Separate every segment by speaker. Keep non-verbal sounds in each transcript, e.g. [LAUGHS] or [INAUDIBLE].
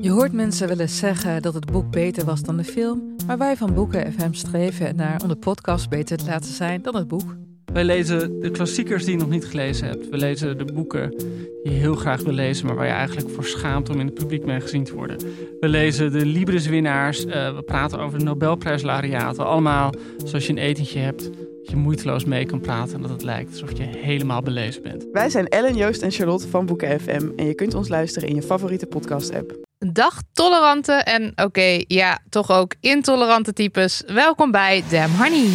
Speaker 1: Je hoort mensen wel eens zeggen dat het boek beter was dan de film, maar wij van Boeken FM streven naar om de podcast beter te laten zijn dan het boek.
Speaker 2: Wij lezen de klassiekers die je nog niet gelezen hebt. We lezen de boeken die je heel graag wil lezen, maar waar je eigenlijk voor schaamt om in het publiek mee gezien te worden. We lezen de Libris-winnaars. eh, we praten over de Nobelprijslariaten. Allemaal zoals je een etentje hebt, dat je moeiteloos mee kan praten en dat het lijkt alsof je helemaal belezen bent.
Speaker 3: Wij zijn Ellen, Joost en Charlotte van Boeken FM en je kunt ons luisteren in je favoriete podcast-app.
Speaker 4: Dag tolerante en oké, ja, toch ook intolerante types. Welkom bij Damn Honey.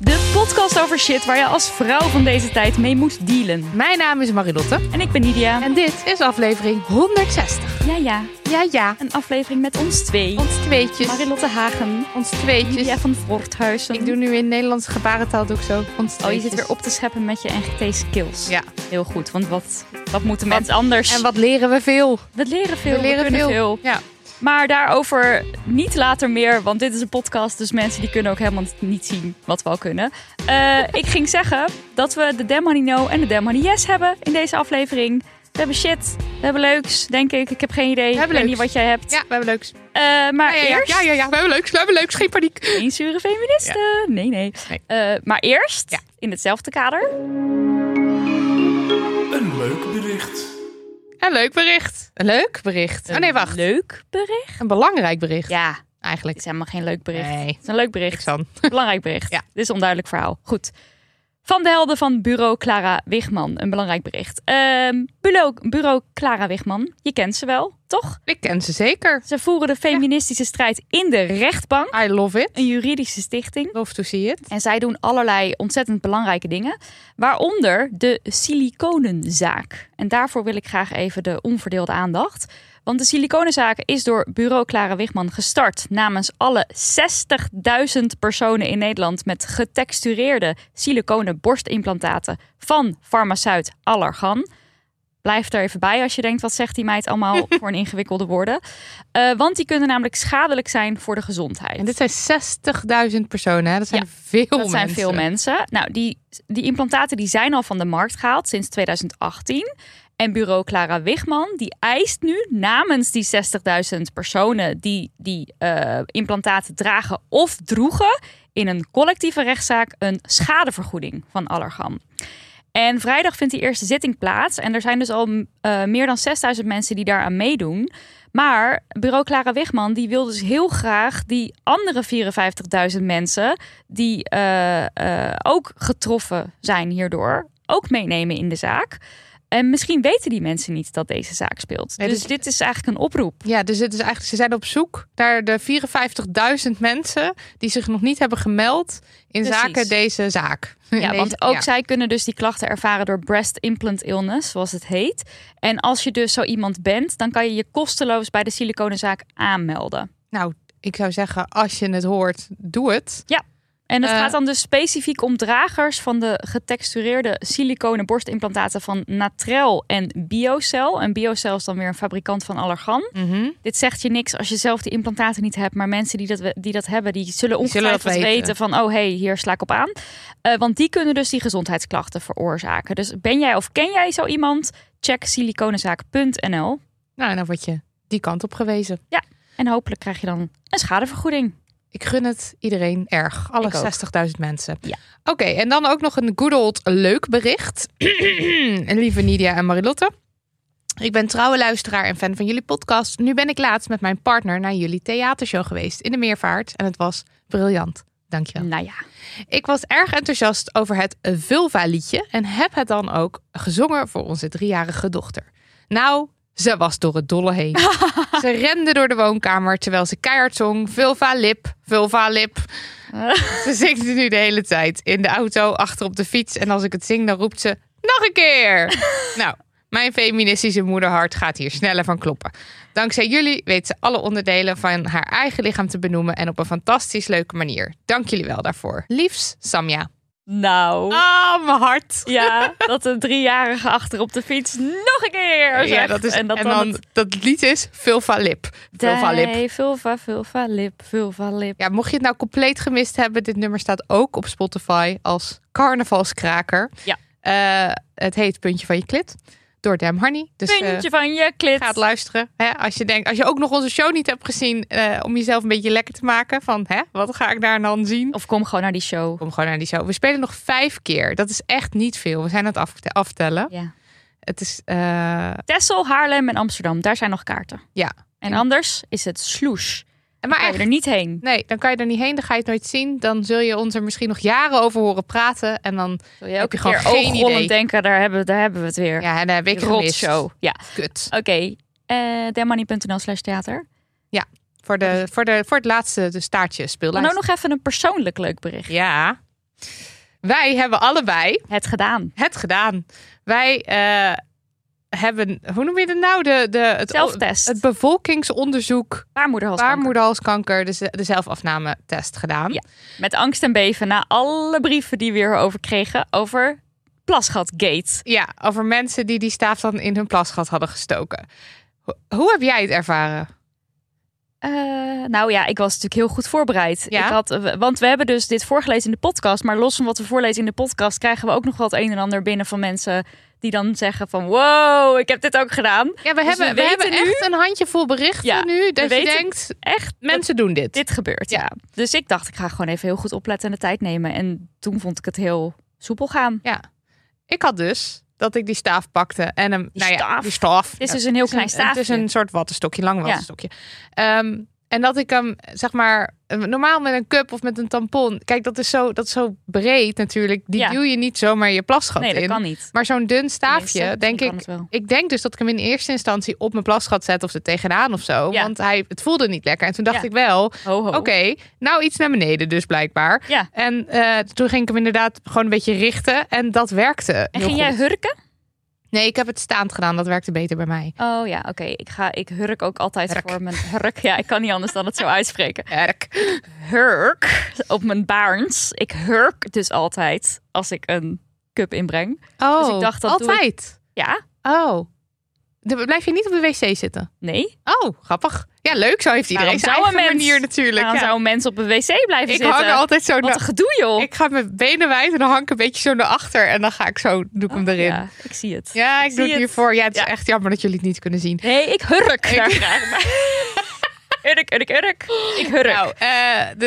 Speaker 5: De podcast over shit waar je als vrouw van deze tijd mee moet dealen.
Speaker 4: Mijn naam is Marilotte
Speaker 5: En ik ben Nidia.
Speaker 4: en dit is aflevering 160.
Speaker 5: ja, ja,
Speaker 4: Ja, ja,
Speaker 5: een aflevering met ons twee.
Speaker 4: ons tweetjes,
Speaker 5: Marilotte Hagen.
Speaker 4: ons tweetjes.
Speaker 5: Julia van Voorthuizen.
Speaker 4: Ik doe nu in Nederlandse gebarentaal doe ik zo. Ons
Speaker 5: Oh, je
Speaker 4: tweetjes.
Speaker 5: zit weer op te scheppen met je NGT-skills.
Speaker 4: Ja.
Speaker 5: Heel goed, want wat, wat moeten mensen anders?
Speaker 4: En wat leren we veel?
Speaker 5: we leren veel,
Speaker 4: we leren
Speaker 5: kunnen
Speaker 4: veel.
Speaker 5: veel.
Speaker 4: Ja.
Speaker 5: Maar daarover niet later meer, want dit is een podcast. Dus mensen die kunnen ook helemaal niet zien wat we al kunnen. Eh, ik ging zeggen dat we de Dem Honey No en de Dem Honey Yes hebben in deze aflevering. We hebben shit, we hebben leuks, denk ik. Ik heb geen idee.
Speaker 4: hebben
Speaker 5: ik weet niet
Speaker 4: leuks.
Speaker 5: wat jij hebt.
Speaker 4: ja, we hebben leuks.
Speaker 5: Eh, maar
Speaker 4: ja, ja,
Speaker 5: eerst...
Speaker 4: Ja, ja, ja, we hebben leuks, we hebben leuks. Geen paniek.
Speaker 5: Geen zure feministen. Nee, nee.
Speaker 4: Nee.
Speaker 5: Eh, maar eerst,
Speaker 4: Ja.
Speaker 5: in hetzelfde kader.
Speaker 6: Een leuk bericht.
Speaker 4: Een leuk bericht. Een leuk bericht. Oh nee, wacht.
Speaker 5: Leuk bericht?
Speaker 4: Een belangrijk bericht
Speaker 5: Ja, het
Speaker 4: eigenlijk.
Speaker 5: is helemaal geen leuk bericht.
Speaker 4: Nee.
Speaker 5: Het is een leuk
Speaker 4: Ik
Speaker 5: bericht.
Speaker 4: dan.
Speaker 5: Belangrijk bericht.
Speaker 4: Ja.
Speaker 5: Dit is een onduidelijk verhaal. Goed. Van de helden van bureau Clara Wigman. Een belangrijk bericht. Ehm, bureau, bureau Clara Wigman. Je kent ze wel, toch?
Speaker 4: Ik ken ze zeker.
Speaker 5: Ze voeren de feministische strijd in de rechtbank.
Speaker 4: I love it.
Speaker 5: Een juridische stichting.
Speaker 4: Love to see it.
Speaker 5: En zij doen allerlei ontzettend belangrijke dingen. Waaronder de siliconenzaak. En daarvoor wil ik graag even de onverdeelde aandacht. Want de siliconenzaak is door bureau Clara Wigman gestart namens alle 60.000 personen in Nederland met getextureerde siliconen borstimplantaten van farmaceut Allergan. Blijf er even bij als je denkt, wat zegt die meid
Speaker 4: [LAUGHS]
Speaker 5: allemaal voor een ingewikkelde woorden. Eh, want die kunnen namelijk schadelijk zijn voor de gezondheid.
Speaker 4: En dit zijn 60.000 personen. Hè? Dat zijn
Speaker 5: Ja,
Speaker 4: veel
Speaker 5: Dat
Speaker 4: mensen.
Speaker 5: zijn veel mensen. Nou, die, die implantaten die zijn al van de markt gehaald sinds 2018. En bureau Clara Wigman die eist nu namens die 60.000 personen die die eh, implantaten dragen of droegen in een collectieve rechtszaak een schadevergoeding van Allergan. En vrijdag vindt die eerste zitting plaats. En er zijn dus al m, eh, meer dan 6000 mensen die daaraan meedoen. Maar bureau Clara Wigman die wil dus heel graag die andere 54.000 mensen... die eh, eh, ook getroffen zijn hierdoor, ook meenemen in de zaak. En misschien weten die mensen niet dat deze zaak speelt.
Speaker 4: Nee,
Speaker 5: dus
Speaker 4: dus-
Speaker 5: dit is eigenlijk een oproep.
Speaker 4: Ja, dus het is eigenlijk, ze zijn op zoek naar de 54.000 mensen die zich nog niet hebben gemeld in
Speaker 5: Precies.
Speaker 4: zaken deze zaak. [LAUGHS] In
Speaker 5: Ja,
Speaker 4: deze-
Speaker 5: want ook
Speaker 4: ja.
Speaker 5: zij kunnen dus die klachten ervaren door breast implant illness, zoals het heet. En als je dus zo iemand bent, dan kan je je kosteloos bij de siliconenzaak aanmelden.
Speaker 4: Nou, ik zou zeggen, als je het hoort, doe het.
Speaker 5: En het
Speaker 4: Eh.
Speaker 5: gaat dan dus specifiek om dragers van de getextureerde siliconen borstimplantaten van Natrel en Biocel. En Biocel is dan weer een fabrikant van Allergan. Dit zegt je niks als je zelf die implantaten niet hebt. Maar mensen die dat, we- die dat hebben, die zullen
Speaker 4: Die zullen dat
Speaker 5: ongetwijfeld weten.
Speaker 4: weten.
Speaker 5: van... oh hey, hier sla ik op aan. Eh, want die kunnen dus die gezondheidsklachten veroorzaken. Dus ben jij of ken jij zo iemand? Check siliconenzaak.nl.
Speaker 4: Nou, en dan word je die kant op gewezen.
Speaker 5: En hopelijk krijg je dan een schadevergoeding.
Speaker 4: Ik gun het iedereen erg. Alle
Speaker 5: Ik ook.
Speaker 4: 60.000 mensen.
Speaker 5: Ja.
Speaker 4: Oké, en dan ook nog een good old leuk bericht. [CLEARS THROAT] Lieve Nidia en Marilotte. Ik ben trouwe luisteraar en fan van jullie podcast. Nu ben ik laatst met mijn partner naar jullie theatershow geweest in de Meervaart. En het was briljant. Dankjewel.
Speaker 5: Nou ja,
Speaker 4: Ik was erg enthousiast over het vulva-liedje en heb het dan ook gezongen voor onze driejarige dochter. Nou, Ze was door het dolle heen. ze rende door de woonkamer terwijl ze keihard zong. Vulva lip, vulva lip. ze zingt het nu de hele tijd. In de auto, achter op de fiets. En als ik het zing, dan roept ze... Nog een keer! nou, mijn feministische moederhart gaat hier sneller van kloppen. Dankzij jullie weet ze alle onderdelen van haar eigen lichaam te benoemen... en op een fantastisch leuke manier. Dank jullie wel daarvoor. Liefs, Samja.
Speaker 5: Nou.
Speaker 4: Ah, mijn hart.
Speaker 5: Ja, dat een driejarige achter op de fiets nog een keer zegt.
Speaker 4: Ja, dat is, en dat, dan
Speaker 5: het-
Speaker 4: dat lied is Vulva Lip. Vulva Lip.
Speaker 5: Nee, vulva, vulva, lip, vulva, lip.
Speaker 4: Ja, mocht je het nou compleet gemist hebben, dit nummer staat ook op Spotify als carnavalskraker.
Speaker 5: Ja.
Speaker 4: Eh, het heet Puntje van je klit door Dam Honey. Dus eh,
Speaker 5: Puntje van je klit.
Speaker 4: ga het luisteren. Hè? Als, je denkt, als je ook nog onze show niet hebt gezien, eh, om jezelf een beetje lekker te maken van hè, wat ga ik daar dan zien?
Speaker 5: Of kom gewoon naar die show.
Speaker 4: Kom gewoon naar die show. We spelen nog vijf keer. Dat is echt niet veel. We zijn aan het af- aftellen.
Speaker 5: Ja.
Speaker 4: Het is eh,
Speaker 5: Tessel, Haarlem en Amsterdam. Daar zijn nog kaarten.
Speaker 4: Ja.
Speaker 5: En anders is het sloes.
Speaker 4: maar
Speaker 5: Ga je
Speaker 4: echt
Speaker 5: er niet heen.
Speaker 4: Nee, dan kan je er niet heen, dan ga je het nooit zien. Dan zul je ons er misschien nog jaren over horen praten. En dan,
Speaker 5: Zul je
Speaker 4: Heb
Speaker 5: ook
Speaker 4: je
Speaker 5: een
Speaker 4: gewoon
Speaker 5: keer
Speaker 4: geen idee.
Speaker 5: oogrollend denken, daar hebben, daar hebben we het weer.
Speaker 4: ja, en dan heb ik
Speaker 5: Die
Speaker 4: gemist.
Speaker 5: rotshow. Ja,
Speaker 4: Kut.
Speaker 5: oké. Eh, Demoney.nl slash theater.
Speaker 4: Voor, de, voor, de, voor het laatste de staartje
Speaker 5: Dan
Speaker 4: speellijst.
Speaker 5: ook nou nog even een persoonlijk leuk bericht.
Speaker 4: Ja. Wij hebben allebei
Speaker 5: Het gedaan.
Speaker 4: het gedaan. Wij eh, hebben, hoe noem je het nou? De, de, het,
Speaker 5: Zelftest.
Speaker 4: het bevolkingsonderzoek
Speaker 5: Baarmoederhalskanker.
Speaker 4: baarmoederhalskanker, dus de, de zelfafname test gedaan.
Speaker 5: Ja. Met angst en beven na alle brieven die we hierover kregen over Plasgatgate.
Speaker 4: Ja, over mensen die die staaf dan in hun plasgat hadden gestoken. Ho- hoe heb jij het ervaren?
Speaker 5: Eh, nou ja, ik was natuurlijk heel goed voorbereid.
Speaker 4: Ja.
Speaker 5: Ik had, eh, want we hebben dus dit voorgelezen in de podcast. Maar los van wat we voorlezen in de podcast, krijgen we ook nog wel het een en ander binnen van mensen die dan zeggen van wow, ik heb dit ook gedaan.
Speaker 4: Ja, we
Speaker 5: Dus
Speaker 4: hebben, we
Speaker 5: we weten
Speaker 4: hebben echt een handjevol berichten
Speaker 5: Ja,
Speaker 4: nu.
Speaker 5: we
Speaker 4: Dat je
Speaker 5: weten-
Speaker 4: denkt,
Speaker 5: Echt,
Speaker 4: mensen doen dit.
Speaker 5: dit gebeurt. Ja.
Speaker 4: Ja.
Speaker 5: Dus ik dacht, ik ga gewoon even heel goed opletten en de tijd nemen. En toen vond ik het heel soepel gaan.
Speaker 4: Ik had dus dat ik die staaf pakte en hem...
Speaker 5: Die
Speaker 4: nou ja,
Speaker 5: staaf.
Speaker 4: die staaf.
Speaker 5: Het is
Speaker 4: Ja,
Speaker 5: dus een heel
Speaker 4: het
Speaker 5: klein
Speaker 4: een-
Speaker 5: staafje.
Speaker 4: Het is een soort wattenstokje, lang wattenstokje. Ehm, en dat ik hem, zeg maar, eh, normaal met een cup of met een tampon. Kijk, dat is zo, dat is zo breed natuurlijk. Die
Speaker 5: Ja.
Speaker 4: duw je niet zomaar je plasgat
Speaker 5: nee, dat
Speaker 4: in.
Speaker 5: kan niet.
Speaker 4: Maar zo'n dun staafje,
Speaker 5: Tenminste,
Speaker 4: denk
Speaker 5: misschien
Speaker 4: ik,
Speaker 5: kan het wel.
Speaker 4: Ik denk dus dat ik hem in eerste instantie op mijn plasgat zet of er tegenaan of zo.
Speaker 5: Ja.
Speaker 4: Want hij, het voelde niet lekker. En toen dacht
Speaker 5: Ja.
Speaker 4: ik wel,
Speaker 5: Ho, ho.
Speaker 4: Oké, nou iets naar beneden dus blijkbaar.
Speaker 5: Ja.
Speaker 4: En eh, toen ging ik hem inderdaad gewoon een beetje richten. En dat werkte.
Speaker 5: En
Speaker 4: heel
Speaker 5: ging jij
Speaker 4: goed.
Speaker 5: hurken?
Speaker 4: Nee, ik heb het staand gedaan. Dat werkte beter bij mij.
Speaker 5: Oh ja, oké. Ik ga, ik hurk ook altijd
Speaker 4: Hurk.
Speaker 5: voor mijn hurk. Ja, ik kan niet anders dan
Speaker 4: [LAUGHS]
Speaker 5: het zo uitspreken.
Speaker 4: Erk.
Speaker 5: Hurk op mijn baarns. Ik hurk dus altijd als ik een cup inbreng.
Speaker 4: Oh,
Speaker 5: Dus ik dacht, dat doe
Speaker 4: altijd.
Speaker 5: Ja,
Speaker 4: Oh. Dan blijf je niet op de wc zitten.
Speaker 5: nee.
Speaker 4: Oh, grappig. Ja, leuk. Zo heeft
Speaker 5: Waarom
Speaker 4: iedereen zijn
Speaker 5: zou
Speaker 4: eigen
Speaker 5: een mens-
Speaker 4: manier natuurlijk.
Speaker 5: Waarom
Speaker 4: Ja.
Speaker 5: zou een mens op een wc blijven
Speaker 4: Ik
Speaker 5: zitten?
Speaker 4: hang altijd zo
Speaker 5: Wat
Speaker 4: naar...
Speaker 5: een gedoe, joh.
Speaker 4: Ik ga mijn benen wijd en dan hang ik een beetje zo naar achter. En dan ga ik zo, doe ik hem erin. Ja,
Speaker 5: Oh, Ja, ik zie het.
Speaker 4: ik, doe
Speaker 5: zie
Speaker 4: het
Speaker 5: het.
Speaker 4: hiervoor. Ja, het is
Speaker 5: Ja.
Speaker 4: echt jammer dat jullie het niet kunnen zien.
Speaker 5: Nee, ik hurk daar graag bij.
Speaker 4: [LAUGHS]
Speaker 5: Hurk, hurk, hurk. Ik hurk.
Speaker 4: Nou, eh,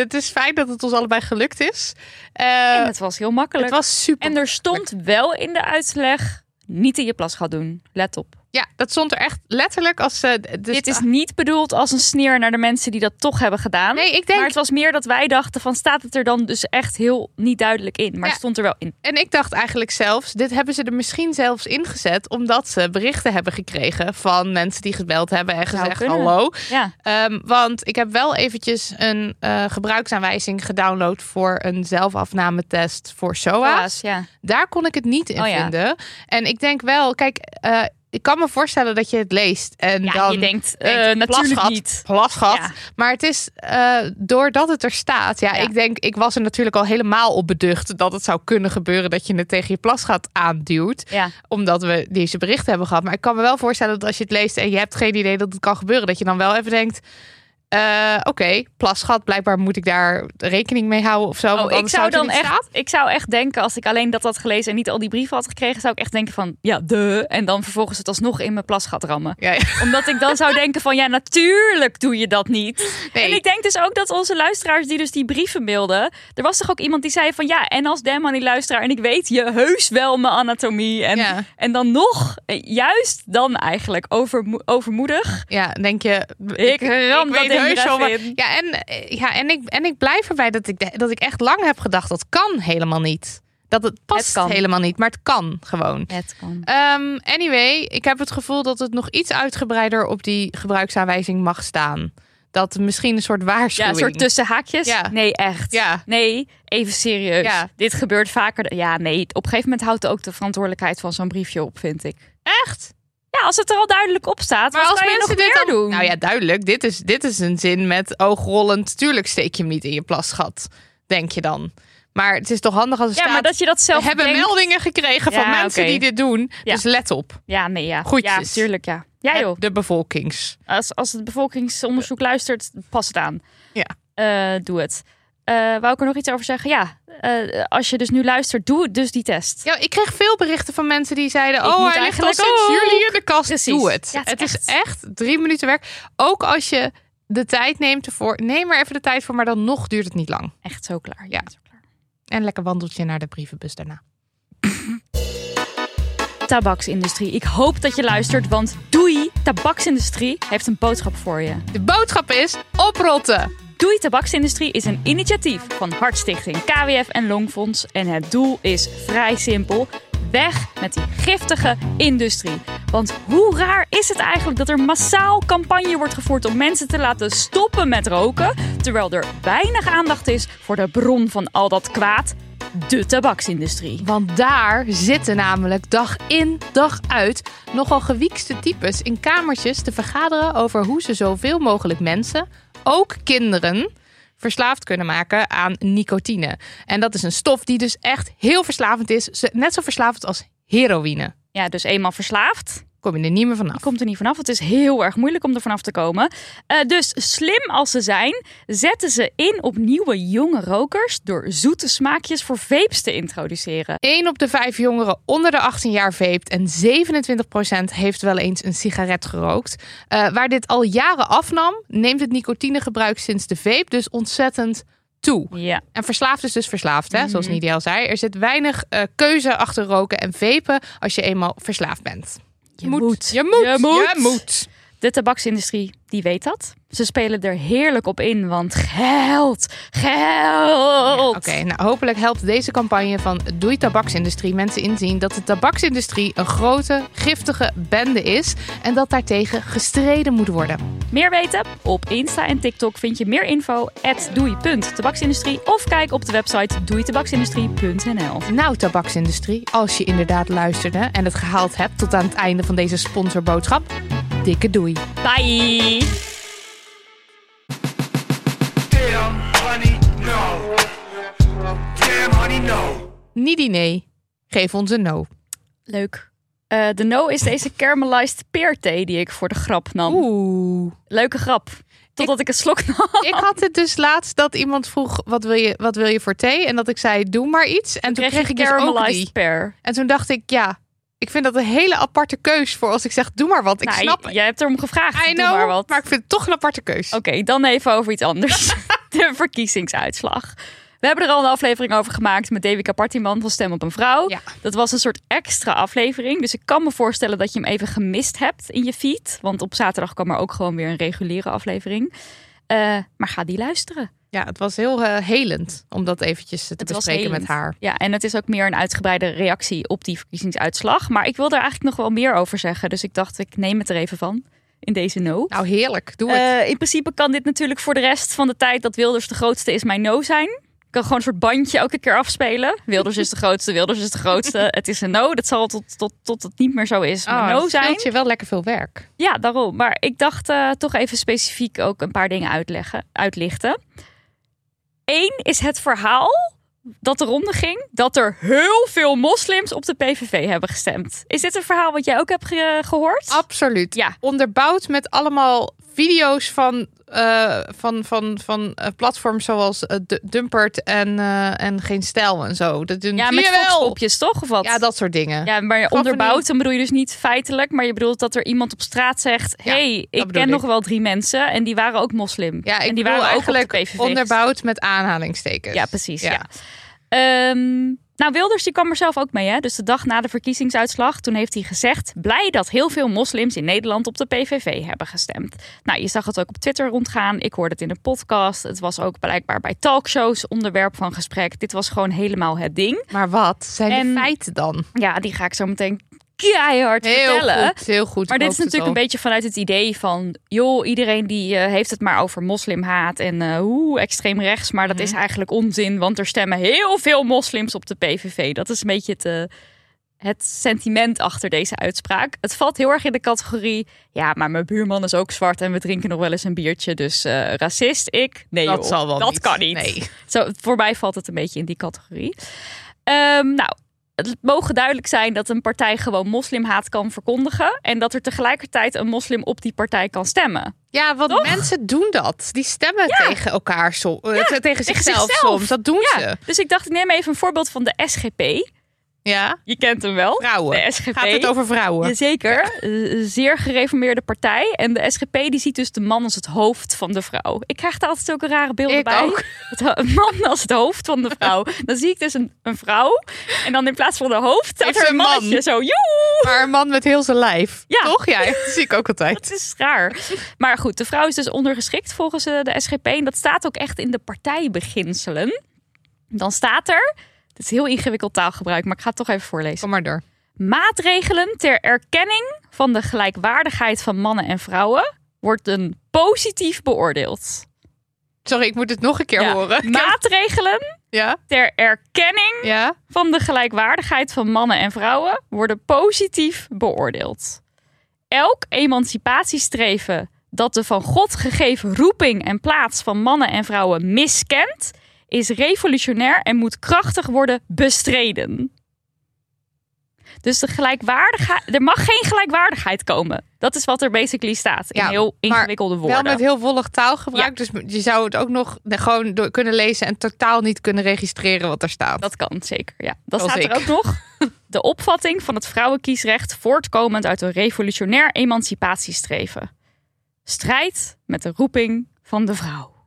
Speaker 4: het is fijn dat het ons allebei gelukt is. Eh,
Speaker 5: en het was heel makkelijk.
Speaker 4: het was super.
Speaker 5: En er stond wel in de uitleg... niet in je plas gaat doen. Let op.
Speaker 4: Ja, dat stond er echt letterlijk als. eh, d- dus,
Speaker 5: Dit is niet bedoeld als een sneer naar de mensen die dat toch hebben gedaan.
Speaker 4: Nee, ik denk.
Speaker 5: Maar het was meer dat wij dachten van staat het er dan dus echt heel niet duidelijk in. Maar
Speaker 4: Ja.
Speaker 5: het stond er wel in.
Speaker 4: En ik dacht eigenlijk zelfs, dit hebben ze er misschien zelfs ingezet, omdat ze berichten hebben gekregen van mensen die gebeld hebben en
Speaker 5: Zou
Speaker 4: gezegd
Speaker 5: kunnen.
Speaker 4: hallo.
Speaker 5: Ja,
Speaker 4: Ehm, want ik heb wel eventjes een eh, gebruiksaanwijzing gedownload voor een zelfafnametest voor SOA's.
Speaker 5: helaas. Ja.
Speaker 4: Daar kon ik het niet in
Speaker 5: Oh ja.
Speaker 4: vinden. En ik denk wel, kijk, eh, ik kan me voorstellen dat je het leest en
Speaker 5: ja,
Speaker 4: dan
Speaker 5: je denkt, eh,
Speaker 4: denk,
Speaker 5: natuurlijk
Speaker 4: plasgat,
Speaker 5: niet.
Speaker 4: Plasgat.
Speaker 5: Ja.
Speaker 4: Maar het is eh, doordat het er staat. Ja,
Speaker 5: Ja.
Speaker 4: ik denk, ik was er natuurlijk al helemaal op beducht dat het zou kunnen gebeuren dat je het tegen je plasgat aanduwt.
Speaker 5: Ja.
Speaker 4: Omdat we deze berichten hebben gehad. Maar ik kan me wel voorstellen dat als je het leest en je hebt geen idee dat het kan gebeuren, dat je dan wel even denkt. eh, Oké, plasgat, blijkbaar moet ik daar rekening mee houden of zo. want
Speaker 5: Oh, ik
Speaker 4: anders
Speaker 5: zou
Speaker 4: het er
Speaker 5: dan
Speaker 4: niet staan.
Speaker 5: echt, ik zou echt denken, als ik alleen dat had gelezen en niet al die brieven had gekregen, zou ik echt denken van ja, de. En dan vervolgens het alsnog in mijn plas gaat rammen.
Speaker 4: Ja, ja.
Speaker 5: Omdat ik dan zou denken van ja, natuurlijk doe je dat niet.
Speaker 4: Nee.
Speaker 5: [LAUGHS] En ik denk dus ook dat onze luisteraars die dus die brieven mailden, er was toch ook iemand die zei van ja, en als Demon die luisteraar en ik weet je heus wel mijn anatomie en,
Speaker 4: Ja.
Speaker 5: en dan nog, eh, juist dan eigenlijk overmo- overmoedig.
Speaker 4: Ja, denk je.
Speaker 5: Ik ram dat ding er even
Speaker 4: wat-
Speaker 5: in.
Speaker 4: Ja, en, eh, ja en, ik, en ik blijf erbij dat ik, de- dat ik echt lang heb gedacht. Dat kan helemaal niet. Dat het past
Speaker 5: Het kan.
Speaker 4: helemaal niet, maar het kan gewoon.
Speaker 5: Het kan.
Speaker 4: Ehm, anyway, ik heb het gevoel dat het nog iets uitgebreider op die gebruiksaanwijzing mag staan. Dat misschien een soort
Speaker 5: Ja,
Speaker 4: waarschuwing.
Speaker 5: een soort tussenhaakjes.
Speaker 4: Ja.
Speaker 5: Nee, echt.
Speaker 4: Ja.
Speaker 5: Nee, even serieus.
Speaker 4: Ja.
Speaker 5: Dit gebeurt vaker. dan- Ja, nee. Op een gegeven moment houdt ook de verantwoordelijkheid van zo'n briefje op, vind ik.
Speaker 4: Echt?
Speaker 5: Ja, als het er al duidelijk op staat,
Speaker 4: Maar
Speaker 5: wat
Speaker 4: als
Speaker 5: kan je
Speaker 4: mensen
Speaker 5: nog
Speaker 4: dit
Speaker 5: meer
Speaker 4: dan
Speaker 5: doen?
Speaker 4: Nou ja, duidelijk. Dit is, dit is een zin met oogrollend. Tuurlijk steek je hem niet in je plasgat, denk je dan. Maar het is toch handig als er
Speaker 5: Ja,
Speaker 4: staat...
Speaker 5: maar dat je dat zelf
Speaker 4: we hebben
Speaker 5: denkt.
Speaker 4: meldingen gekregen van
Speaker 5: Ja,
Speaker 4: mensen
Speaker 5: oké.
Speaker 4: die dit doen.
Speaker 5: Ja.
Speaker 4: Dus let op.
Speaker 5: Ja, nee, ja.
Speaker 4: Goedjes.
Speaker 5: Ja, tuurlijk, ja. Ja, joh.
Speaker 4: De bevolkings.
Speaker 5: Als, als het bevolkingsonderzoek luistert, pas het aan.
Speaker 4: Ja.
Speaker 5: Eh, doe het. Eh wou ik er nog iets over zeggen? Ja, eh, als je dus nu luistert, doe dus die test.
Speaker 4: Ja, ik kreeg veel berichten van mensen die zeiden...
Speaker 5: Ik
Speaker 4: oh,
Speaker 5: moet
Speaker 4: hij ligt al
Speaker 5: eigenlijk
Speaker 4: sinds
Speaker 5: ook."
Speaker 4: juli in de kast.
Speaker 5: Precies.
Speaker 4: Doe het.
Speaker 5: Ja,
Speaker 4: het is echt drie minuten werk. Ook als je de tijd neemt ervoor. Neem er even de tijd voor, maar dan nog duurt het niet lang.
Speaker 5: Echt zo klaar.
Speaker 4: Ja.
Speaker 5: Ja. Zo klaar.
Speaker 4: En lekker wandeltje naar de brievenbus daarna.
Speaker 5: Tabaksindustrie. Ik hoop dat je luistert, want doei, tabaksindustrie heeft een boodschap voor je.
Speaker 4: De boodschap is oprotten.
Speaker 5: Doei Tabaksindustrie is een initiatief van Hartstichting, KWF en Longfonds. En het doel is vrij simpel. Weg met die giftige industrie. Want hoe raar is het eigenlijk dat er massaal campagne wordt gevoerd om mensen te laten stoppen met roken, terwijl er weinig aandacht is voor de bron van al dat kwaad, de tabaksindustrie.
Speaker 4: Want daar zitten namelijk dag in, dag uit nogal gewiekste types in kamertjes te vergaderen over hoe ze zoveel mogelijk mensen, ook kinderen, verslaafd kunnen maken aan nicotine. En dat is een stof die dus echt heel verslavend is. Ze- Net zo verslavend als heroïne.
Speaker 5: Ja, dus eenmaal verslaafd,
Speaker 4: Kom je er niet meer vanaf.
Speaker 5: Je komt er niet vanaf. Het is heel erg moeilijk om er vanaf te komen. Eh, dus slim als ze zijn, zetten ze in op nieuwe jonge rokers door zoete smaakjes voor vapes te introduceren.
Speaker 4: 1 op de 5 jongeren onder de 18 jaar veept en 27% heeft wel eens een sigaret gerookt. Eh, waar dit al jaren afnam, neemt het nicotinegebruik sinds de vape dus ontzettend toe.
Speaker 5: Ja,
Speaker 4: En verslaafd is dus verslaafd, hè?
Speaker 5: Mhm.
Speaker 4: zoals Nidia al zei. Er zit weinig eh, keuze achter roken en vapen als je eenmaal verslaafd bent.
Speaker 5: je moet.
Speaker 4: Je moet.
Speaker 5: Je moet.
Speaker 4: Je moet.
Speaker 5: De tabaksindustrie, die weet dat. Ze spelen er heerlijk op in, want geld, geld.
Speaker 4: Oké, nou hopelijk helpt deze campagne van Doei Tabaksindustrie mensen inzien dat de tabaksindustrie een grote, giftige bende is en dat daartegen gestreden moet worden.
Speaker 5: Meer weten? Op Insta en TikTok vind je meer info at doei.tabaksindustrie of kijk op de website doeitabaksindustrie.nl.
Speaker 4: Nou, tabaksindustrie, als je inderdaad luisterde en het gehaald hebt tot aan het einde van deze sponsorboodschap, dikke doei.
Speaker 5: Bye!
Speaker 6: Damn, honey, no. Damn, honey, no.
Speaker 4: Niet die nee, geef ons een no.
Speaker 5: Leuk. Eh, de no is deze caramelized peerthee die ik voor de grap nam.
Speaker 4: Oeh.
Speaker 5: Leuke grap. Totdat ik, een slok nam.
Speaker 4: Ik had het dus laatst dat iemand vroeg, wat wil je, wat wil je voor thee? En dat ik zei, doe maar iets. En toen kreeg
Speaker 5: je
Speaker 4: ik dus ook
Speaker 5: caramelized
Speaker 4: die.
Speaker 5: pear.
Speaker 4: En toen dacht ik, ja, ik vind dat een hele aparte keus voor als ik zeg, doe maar wat. Ik
Speaker 5: Nou,
Speaker 4: snap
Speaker 5: j-
Speaker 4: het.
Speaker 5: Jij hebt erom gevraagd.
Speaker 4: I
Speaker 5: Doe
Speaker 4: know,
Speaker 5: maar wat.
Speaker 4: ik vind het toch een aparte keus.
Speaker 5: Oké, dan even over iets anders. [LAUGHS] de verkiezingsuitslag. We hebben er al een aflevering over gemaakt met David Capartiman van Stem op een Vrouw.
Speaker 4: Ja.
Speaker 5: Dat was een soort extra aflevering. Dus ik kan me voorstellen dat je hem even gemist hebt in je feed. Want op zaterdag kwam er ook gewoon weer een reguliere aflevering. Eh, maar ga die luisteren.
Speaker 4: Ja, het was heel eh, helend om dat eventjes te
Speaker 5: Het was
Speaker 4: bespreken met
Speaker 5: helend.
Speaker 4: haar.
Speaker 5: Ja, en het is ook meer een uitgebreide reactie op die verkiezingsuitslag. Maar ik wil daar eigenlijk nog wel meer over zeggen. Dus ik dacht, ik neem het er even van in deze no.
Speaker 4: Nou, heerlijk. Doe het.
Speaker 5: Eh, in principe kan dit natuurlijk voor de rest van de tijd dat Wilders de grootste is mijn no zijn. Ik kan gewoon een soort bandje elke keer afspelen. Wilders is de grootste, Wilders is de grootste.
Speaker 4: [LAUGHS]
Speaker 5: Het is een no. Dat zal tot, tot, tot Ah, het niet meer zo is mijn
Speaker 4: Oh,
Speaker 5: no
Speaker 4: dat
Speaker 5: zijn.
Speaker 4: scheelt je wel lekker veel werk.
Speaker 5: Ja, daarom. Maar ik dacht eh, toch even specifiek ook een paar dingen uitleggen, uitlichten. Eén is het verhaal dat de ronde ging dat er heel veel moslims op de PVV hebben gestemd. Is dit een verhaal wat jij ook hebt ge- gehoord?
Speaker 4: Absoluut.
Speaker 5: Ja.
Speaker 4: Onderbouwd met allemaal video's van, eh, van, van, van eh, platforms zoals eh, D- Dumpert en, eh, en Geen Stijl en zo. Dat doen
Speaker 5: ja, met
Speaker 4: Jawel!
Speaker 5: fotoopjes toch? Of wat?
Speaker 4: Ja, dat soort dingen.
Speaker 5: Ja, maar
Speaker 4: van
Speaker 5: onderbouwd,
Speaker 4: die-
Speaker 5: dan bedoel je dus niet feitelijk, maar je bedoelt dat er iemand op straat zegt:
Speaker 4: Ja,
Speaker 5: hey, ik
Speaker 4: bedoel
Speaker 5: ken
Speaker 4: ik.
Speaker 5: nog wel drie mensen en die waren ook moslim.
Speaker 4: Ja, ik
Speaker 5: en die
Speaker 4: bedoel
Speaker 5: waren ook op de
Speaker 4: eigenlijk
Speaker 5: PVV gestemd.
Speaker 4: onderbouwd met aanhalingstekens.
Speaker 5: Ja, precies. Ja.
Speaker 4: Ja.
Speaker 5: Ehm, Nou, Wilders die kwam er zelf ook mee. Hè? Dus de dag na de verkiezingsuitslag, toen heeft hij gezegd... blij dat heel veel moslims in Nederland op de PVV hebben gestemd. Nou, je zag het ook op Twitter rondgaan. Ik hoorde het in een podcast. Het was ook blijkbaar bij talkshows onderwerp van gesprek. Dit was gewoon helemaal het ding.
Speaker 4: Maar wat zijn
Speaker 5: En-
Speaker 4: de feiten dan?
Speaker 5: Ja, die ga ik zo meteen keihard
Speaker 4: Heel
Speaker 5: vertellen.
Speaker 4: goed, heel goed.
Speaker 5: Maar
Speaker 4: ik
Speaker 5: dit is
Speaker 4: hoop het
Speaker 5: natuurlijk een
Speaker 4: al.
Speaker 5: beetje vanuit het idee van... joh, iedereen die eh, heeft het maar over moslimhaat en eh, hoe extreem rechts. Maar dat
Speaker 4: Mhm.
Speaker 5: is eigenlijk onzin, want er stemmen heel veel moslims op de PVV. Dat is een beetje het, eh, het sentiment achter deze uitspraak. Het valt heel erg in de categorie... ja, maar mijn buurman is ook zwart en we drinken nog wel eens een biertje. Dus eh, racist, ik? Nee
Speaker 4: Dat
Speaker 5: joh,
Speaker 4: zal wel
Speaker 5: dat
Speaker 4: niet.
Speaker 5: kan niet.
Speaker 4: Nee.
Speaker 5: Zo, voor mij valt het een beetje in die categorie. Ehm, nou, het mogen duidelijk zijn dat een partij gewoon moslimhaat kan verkondigen. En dat er tegelijkertijd een moslim op die partij kan stemmen.
Speaker 4: Ja, want
Speaker 5: Toch?
Speaker 4: mensen doen dat. Die stemmen tegen elkaar soms. tegen zichzelf
Speaker 5: zichzelf.
Speaker 4: soms. Dat doen
Speaker 5: Ja,
Speaker 4: ze.
Speaker 5: dus ik dacht, ik neem even een voorbeeld van de SGP.
Speaker 4: Ja.
Speaker 5: Je kent hem wel.
Speaker 4: Vrouwen.
Speaker 5: De SGP.
Speaker 4: Gaat het over vrouwen?
Speaker 5: Jazeker. Een zeer gereformeerde partij. En de SGP die ziet dus de man als het hoofd van de vrouw. Ik krijg daar altijd zulke rare beelden
Speaker 4: Ik
Speaker 5: bij.
Speaker 4: ook.
Speaker 5: Het ho- [LAUGHS] een man als het hoofd van de vrouw. Dan zie ik dus een, een vrouw. En dan in plaats van de hoofd staat
Speaker 4: Heeft
Speaker 5: er
Speaker 4: ze
Speaker 5: een
Speaker 4: een man?
Speaker 5: mannetje. Zo, joe!
Speaker 4: Maar een man met heel zijn lijf.
Speaker 5: Ja.
Speaker 4: Toch? Ja, dat [LAUGHS] zie ik ook altijd.
Speaker 5: Het is raar. Maar goed, de vrouw is dus ondergeschikt volgens eh, de SGP. En dat staat ook echt in de partijbeginselen. Dan staat er. Het is heel ingewikkeld taalgebruik, maar ik ga het toch even voorlezen.
Speaker 4: Kom maar door.
Speaker 5: Maatregelen ter erkenning van de gelijkwaardigheid van mannen en vrouwen wordt een positief beoordeeld.
Speaker 4: Sorry, ik moet het nog een keer
Speaker 5: Ja.
Speaker 4: horen. Ik heb-
Speaker 5: Maatregelen
Speaker 4: Ja?
Speaker 5: ter erkenning
Speaker 4: Ja?
Speaker 5: van de gelijkwaardigheid van mannen en vrouwen worden positief beoordeeld. Elk emancipatiestreven dat de van God gegeven roeping en plaats van mannen en vrouwen miskent, is revolutionair en moet krachtig worden bestreden. Dus de gelijkwaardigheid, er mag geen gelijkwaardigheid komen. Dat is wat er basically staat in
Speaker 4: Ja,
Speaker 5: heel
Speaker 4: maar
Speaker 5: ingewikkelde woorden.
Speaker 4: Wel met heel volg taalgebruik. Dus je zou het ook nog gewoon door kunnen lezen en totaal niet kunnen registreren wat er staat.
Speaker 5: Dat kan zeker, ja. Dat
Speaker 4: Zoals
Speaker 5: staat er
Speaker 4: ik.
Speaker 5: ook nog. [LAUGHS] De opvatting van het vrouwenkiesrecht voortkomend uit een revolutionair emancipatiestreven. Strijd met de roeping van de vrouw.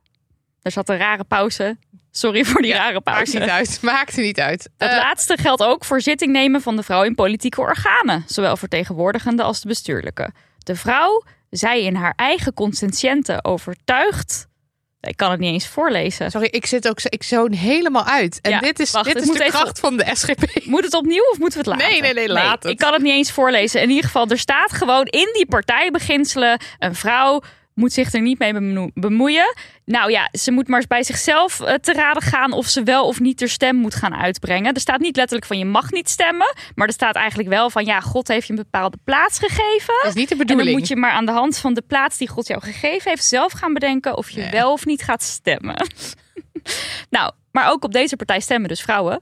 Speaker 5: Er zat een rare pauze. Sorry voor die rare
Speaker 4: Maakt niet
Speaker 5: pauze.
Speaker 4: uit. Maakt niet uit.
Speaker 5: Dat
Speaker 4: Eh,
Speaker 5: laatste geldt ook voor zitting nemen van de vrouw in politieke organen, zowel vertegenwoordigende als de bestuurlijke. De vrouw, zij in haar eigen consciënte overtuigd. Ik kan het niet eens voorlezen.
Speaker 4: sorry, ik zit ook zo, ik zoon helemaal uit. En
Speaker 5: Ja,
Speaker 4: dit is,
Speaker 5: wacht,
Speaker 4: dit
Speaker 5: ik
Speaker 4: is
Speaker 5: moet
Speaker 4: de
Speaker 5: even-
Speaker 4: kracht van de SGP.
Speaker 5: Moet het opnieuw of moeten we het laten?
Speaker 4: Nee, nee, nee, laat het.
Speaker 5: Ik kan het niet eens voorlezen. In ieder geval, er staat gewoon in die partijbeginselen... een vrouw moet zich er niet mee bemo- bemoeien. Nou ja, ze moet maar eens bij zichzelf eh, te raden gaan... of ze wel of niet haar stem moet gaan uitbrengen. Er staat niet letterlijk van je mag niet stemmen... maar er staat eigenlijk wel van ja, God heeft je een bepaalde plaats gegeven...
Speaker 4: Dat is niet de
Speaker 5: En dan
Speaker 4: bedoeling.
Speaker 5: moet je maar aan de hand van de plaats die God jou gegeven heeft zelf gaan bedenken of je
Speaker 4: Nee.
Speaker 5: wel of niet gaat stemmen. [LAUGHS] nou, maar ook op deze partij stemmen dus vrouwen